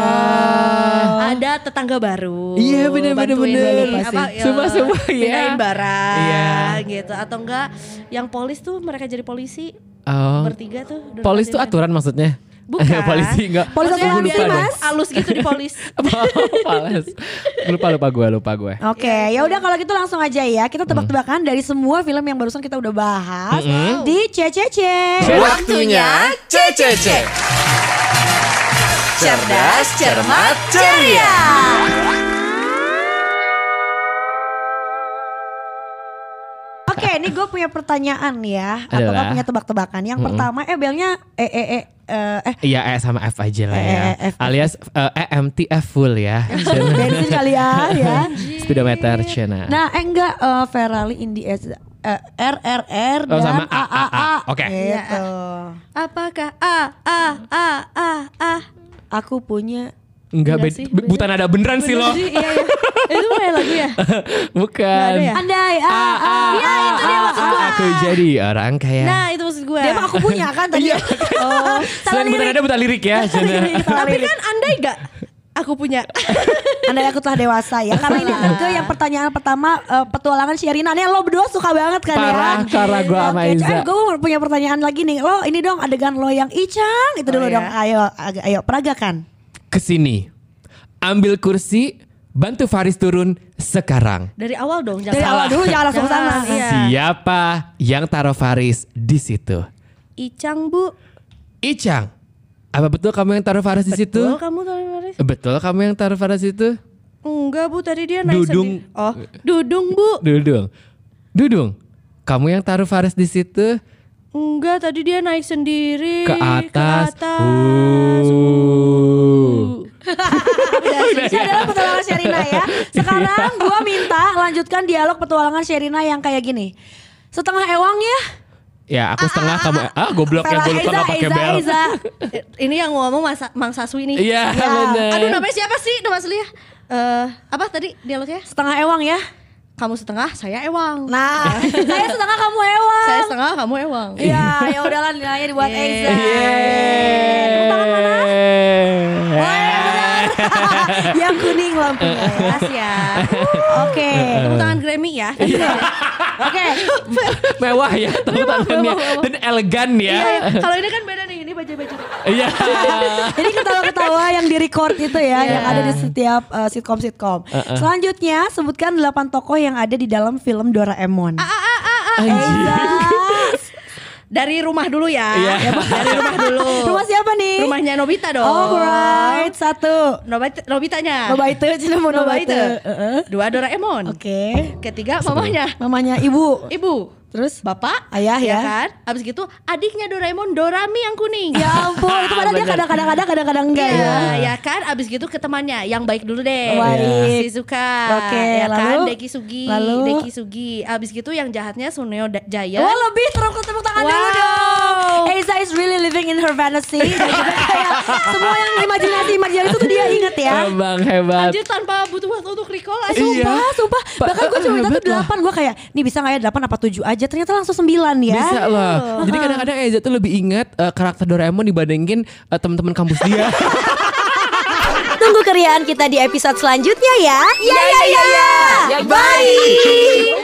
[SPEAKER 4] Ada tetangga baru.
[SPEAKER 2] Iya, bener, bener,
[SPEAKER 4] bantuin di-
[SPEAKER 2] bener.
[SPEAKER 4] Apa, ya,
[SPEAKER 2] Sumpah-sumpah, iya.
[SPEAKER 4] pindahin barang
[SPEAKER 2] Iya.
[SPEAKER 4] gitu atau enggak yang polis tuh mereka jadi polisi
[SPEAKER 2] Oh.
[SPEAKER 4] bertiga tuh. dulu
[SPEAKER 2] Polis tuh
[SPEAKER 4] katanya.
[SPEAKER 2] aturan maksudnya?
[SPEAKER 4] Bukan.
[SPEAKER 2] *laughs* Polisi enggak.
[SPEAKER 3] Polis
[SPEAKER 2] Gue
[SPEAKER 3] aturan
[SPEAKER 2] lupa
[SPEAKER 3] sih,
[SPEAKER 2] deh.
[SPEAKER 3] Mas.
[SPEAKER 4] Alus gitu di
[SPEAKER 2] *laughs*
[SPEAKER 4] polis.
[SPEAKER 2] Polis. Lupa lupa gue lupa gue.
[SPEAKER 3] Oke, ya udah kalau gitu langsung aja ya. Kita tebak-tebakan dari semua film yang barusan kita udah bahas di CCC.
[SPEAKER 1] Waktunya CCC. Cerdas, cermat, ceria.
[SPEAKER 3] Oke, ini gue punya pertanyaan ya. Atau
[SPEAKER 2] Adalah?
[SPEAKER 3] nggak punya tebak-tebakan. Yang pertama, eh belnya eh eh eh eh,
[SPEAKER 2] *laughs*
[SPEAKER 3] eh
[SPEAKER 2] Iya E sama F aja lah ya.
[SPEAKER 3] E, E, F.
[SPEAKER 2] Alias eh, EMTF full ya.
[SPEAKER 3] bensin kali
[SPEAKER 2] *laughs*
[SPEAKER 3] ya, ya.
[SPEAKER 2] Speedometer Cina.
[SPEAKER 3] Nah, eh, enggak eh, Ferrari Indi S eh, R R R
[SPEAKER 2] Oh,
[SPEAKER 3] dan
[SPEAKER 2] sama A,
[SPEAKER 3] A A
[SPEAKER 2] A,
[SPEAKER 3] A.
[SPEAKER 2] A. Oke.
[SPEAKER 3] Gitu.
[SPEAKER 4] ah, Apakah a a a a a
[SPEAKER 3] Aku punya
[SPEAKER 2] Enggak,
[SPEAKER 4] Enggak
[SPEAKER 2] bet-
[SPEAKER 4] sih,
[SPEAKER 2] be- buta nada beneran sih lo.
[SPEAKER 4] Iya, iya. Itu mana lagu ya? Nggak
[SPEAKER 2] *laughs* Bukan.
[SPEAKER 4] ada ya?
[SPEAKER 3] Andai, ah, ah,
[SPEAKER 4] Iya, itu dia
[SPEAKER 2] ah,
[SPEAKER 4] maksud gua.
[SPEAKER 2] Aku jadi orang kaya.
[SPEAKER 4] Nah, itu maksud gue.
[SPEAKER 3] Dia mah aku punya kan tadi.
[SPEAKER 4] Oh.
[SPEAKER 3] Salah
[SPEAKER 2] ah. Iya. Selain buta
[SPEAKER 3] lirik.
[SPEAKER 2] nada buta lirik ya. Jana.
[SPEAKER 4] Tapi kan andai gak aku
[SPEAKER 2] *laughs*
[SPEAKER 4] punya.
[SPEAKER 3] Andai aku telah dewasa ya. Karena ini kan ke yang pertanyaan pertama eh, petualangan Sherina. Nih lo berdua suka banget kan
[SPEAKER 2] Parah,
[SPEAKER 3] ya.
[SPEAKER 2] parah gua sama
[SPEAKER 3] Oke,
[SPEAKER 2] Iza.
[SPEAKER 3] Eh gue punya pertanyaan lagi nih. Lo ini dong adegan lo yang Icang. Itu
[SPEAKER 4] Oh,
[SPEAKER 3] dulu
[SPEAKER 4] iya.
[SPEAKER 3] dong. Ayo, ag- ayo peragakan.
[SPEAKER 2] Kesini. Ambil kursi. Bantu Faris turun sekarang.
[SPEAKER 4] Dari awal dong. Jangan
[SPEAKER 3] Dari awal dulu jangan langsung
[SPEAKER 4] Jangan,
[SPEAKER 3] sana.
[SPEAKER 4] iya.
[SPEAKER 2] Siapa yang taruh Faris di situ?
[SPEAKER 4] Icang bu.
[SPEAKER 2] Icang. Apa betul kamu yang taruh Faris di situ?
[SPEAKER 4] Betul kamu tadi Faris?
[SPEAKER 2] Betul kamu yang taruh Faris di situ?
[SPEAKER 4] Enggak bu tadi dia naik
[SPEAKER 2] Dudung.
[SPEAKER 4] sendiri. Oh Dudung bu.
[SPEAKER 2] Dudung. Dudung. Kamu yang taruh Faris di situ?
[SPEAKER 4] Enggak tadi dia naik sendiri.
[SPEAKER 2] Ke atas.
[SPEAKER 4] Ke atas.
[SPEAKER 2] Uh.
[SPEAKER 3] Ini adalah petualangan Sherina
[SPEAKER 2] *laughs* Iya.
[SPEAKER 3] ya. Sekarang gue minta lanjutkan dialog petualangan Sherina yang kayak gini. Setengah ewang ya.
[SPEAKER 2] Ya aku setengah kamu. Ah goblok ya
[SPEAKER 3] Pela
[SPEAKER 2] gue lupa
[SPEAKER 3] Eza,
[SPEAKER 2] gak pakai
[SPEAKER 3] Eza,
[SPEAKER 2] bel.
[SPEAKER 3] Eza.
[SPEAKER 4] Eh, Ini yang ngomong masa, Mang Saswi nih.
[SPEAKER 2] Iya
[SPEAKER 3] Ya.
[SPEAKER 2] bener.
[SPEAKER 4] Aduh namanya siapa sih nama aslinya? Eh apa tadi dialognya?
[SPEAKER 3] Setengah ewang ya.
[SPEAKER 4] Kamu setengah, saya ewang.
[SPEAKER 3] Nah, saya setengah kamu ewang.
[SPEAKER 4] Saya setengah, kamu ewang. Iya.
[SPEAKER 3] Iya, ya udahlah nilainya dibuat
[SPEAKER 4] Yeay.
[SPEAKER 3] Eza.
[SPEAKER 2] Yeay.
[SPEAKER 3] Tepuk tangan mana?
[SPEAKER 2] ya,
[SPEAKER 3] *laughs* yang kuning lampunya ya.
[SPEAKER 4] Siap.
[SPEAKER 3] Oke.
[SPEAKER 4] Tepuk tangan Grammy ya.
[SPEAKER 3] Oke.
[SPEAKER 2] Mewah ya tepuk tangannya dan elegan ya.
[SPEAKER 4] Iya,
[SPEAKER 3] *laughs*
[SPEAKER 4] Kalau ini kan beda nih, ini baju-baju.
[SPEAKER 2] Iya.
[SPEAKER 3] Jadi ketawa-ketawa yang direcord itu ya
[SPEAKER 4] Iya.
[SPEAKER 3] yang ada di setiap uh, sitkom-sitkom. Selanjutnya sebutkan 8 tokoh yang ada di dalam film Doraemon.
[SPEAKER 4] Ah,
[SPEAKER 2] Anjir.
[SPEAKER 4] Iya. Dari rumah dulu ya.
[SPEAKER 2] Iya.
[SPEAKER 4] Ya, Bu. Dari rumah dulu.
[SPEAKER 3] Rumah siapa nih? Oh,
[SPEAKER 4] Rumahnya Nobita dong.
[SPEAKER 3] Alright, satu.
[SPEAKER 4] Nobita, Nobitanya.
[SPEAKER 3] Mama itu, cina mau mama itu.
[SPEAKER 4] Nobita.
[SPEAKER 3] Heeh.
[SPEAKER 4] Dua Doraemon.
[SPEAKER 3] Oke.
[SPEAKER 4] Ketiga mamahnya.
[SPEAKER 3] Mamanya ibu.
[SPEAKER 4] Ibu.
[SPEAKER 3] Terus?
[SPEAKER 4] Bapak.
[SPEAKER 3] Ayah ya.
[SPEAKER 4] kan? Abis gitu adiknya Doraemon Dorami yang kuning.
[SPEAKER 3] *laughs* Ya ampun, itu padahal dia
[SPEAKER 2] Bener.
[SPEAKER 3] kadang-kadang ada, kadang-kadang enggak
[SPEAKER 4] Iya,
[SPEAKER 3] ya.
[SPEAKER 4] ya kan? Abis gitu ke temannya, yang baik dulu deh.
[SPEAKER 3] Baik.
[SPEAKER 4] Shizuka.
[SPEAKER 3] iya. Oke,
[SPEAKER 4] ya kan?
[SPEAKER 3] lalu?
[SPEAKER 4] Deki Sugi.
[SPEAKER 3] Lalu?
[SPEAKER 4] Deki Sugi. Abis gitu yang jahatnya Suneo Da- Jaya.
[SPEAKER 3] Wah lebih terus tepuk tangan dulu
[SPEAKER 4] Iya. Wow.
[SPEAKER 3] dong. Eiza is really living in her fantasy. Dan juga kayak semua yang imajinasi imajinasi itu tuh dia inget ya.
[SPEAKER 2] Abang hebat.
[SPEAKER 4] Anjir tanpa butuh waktu untuk recall
[SPEAKER 3] Eh,
[SPEAKER 4] aja.
[SPEAKER 3] Sumpah,
[SPEAKER 2] Iya.
[SPEAKER 3] sumpah.
[SPEAKER 2] Pa-
[SPEAKER 3] Bahkan gue cuma minta tuh
[SPEAKER 2] hebat lah.
[SPEAKER 3] 8 Gue kayak, nih bisa gak ya 8 apa 7 aja Ternyata langsung 9 ya
[SPEAKER 2] Bisa lah. Jadi kadang-kadang Eza tuh lebih ingat eh, karakter Doraemon dibandingin eh, teman-teman kampus
[SPEAKER 4] Ya,
[SPEAKER 2] dia.
[SPEAKER 3] Tunggu keriaan kita di episode selanjutnya ya Ya ya ya, ya. Bye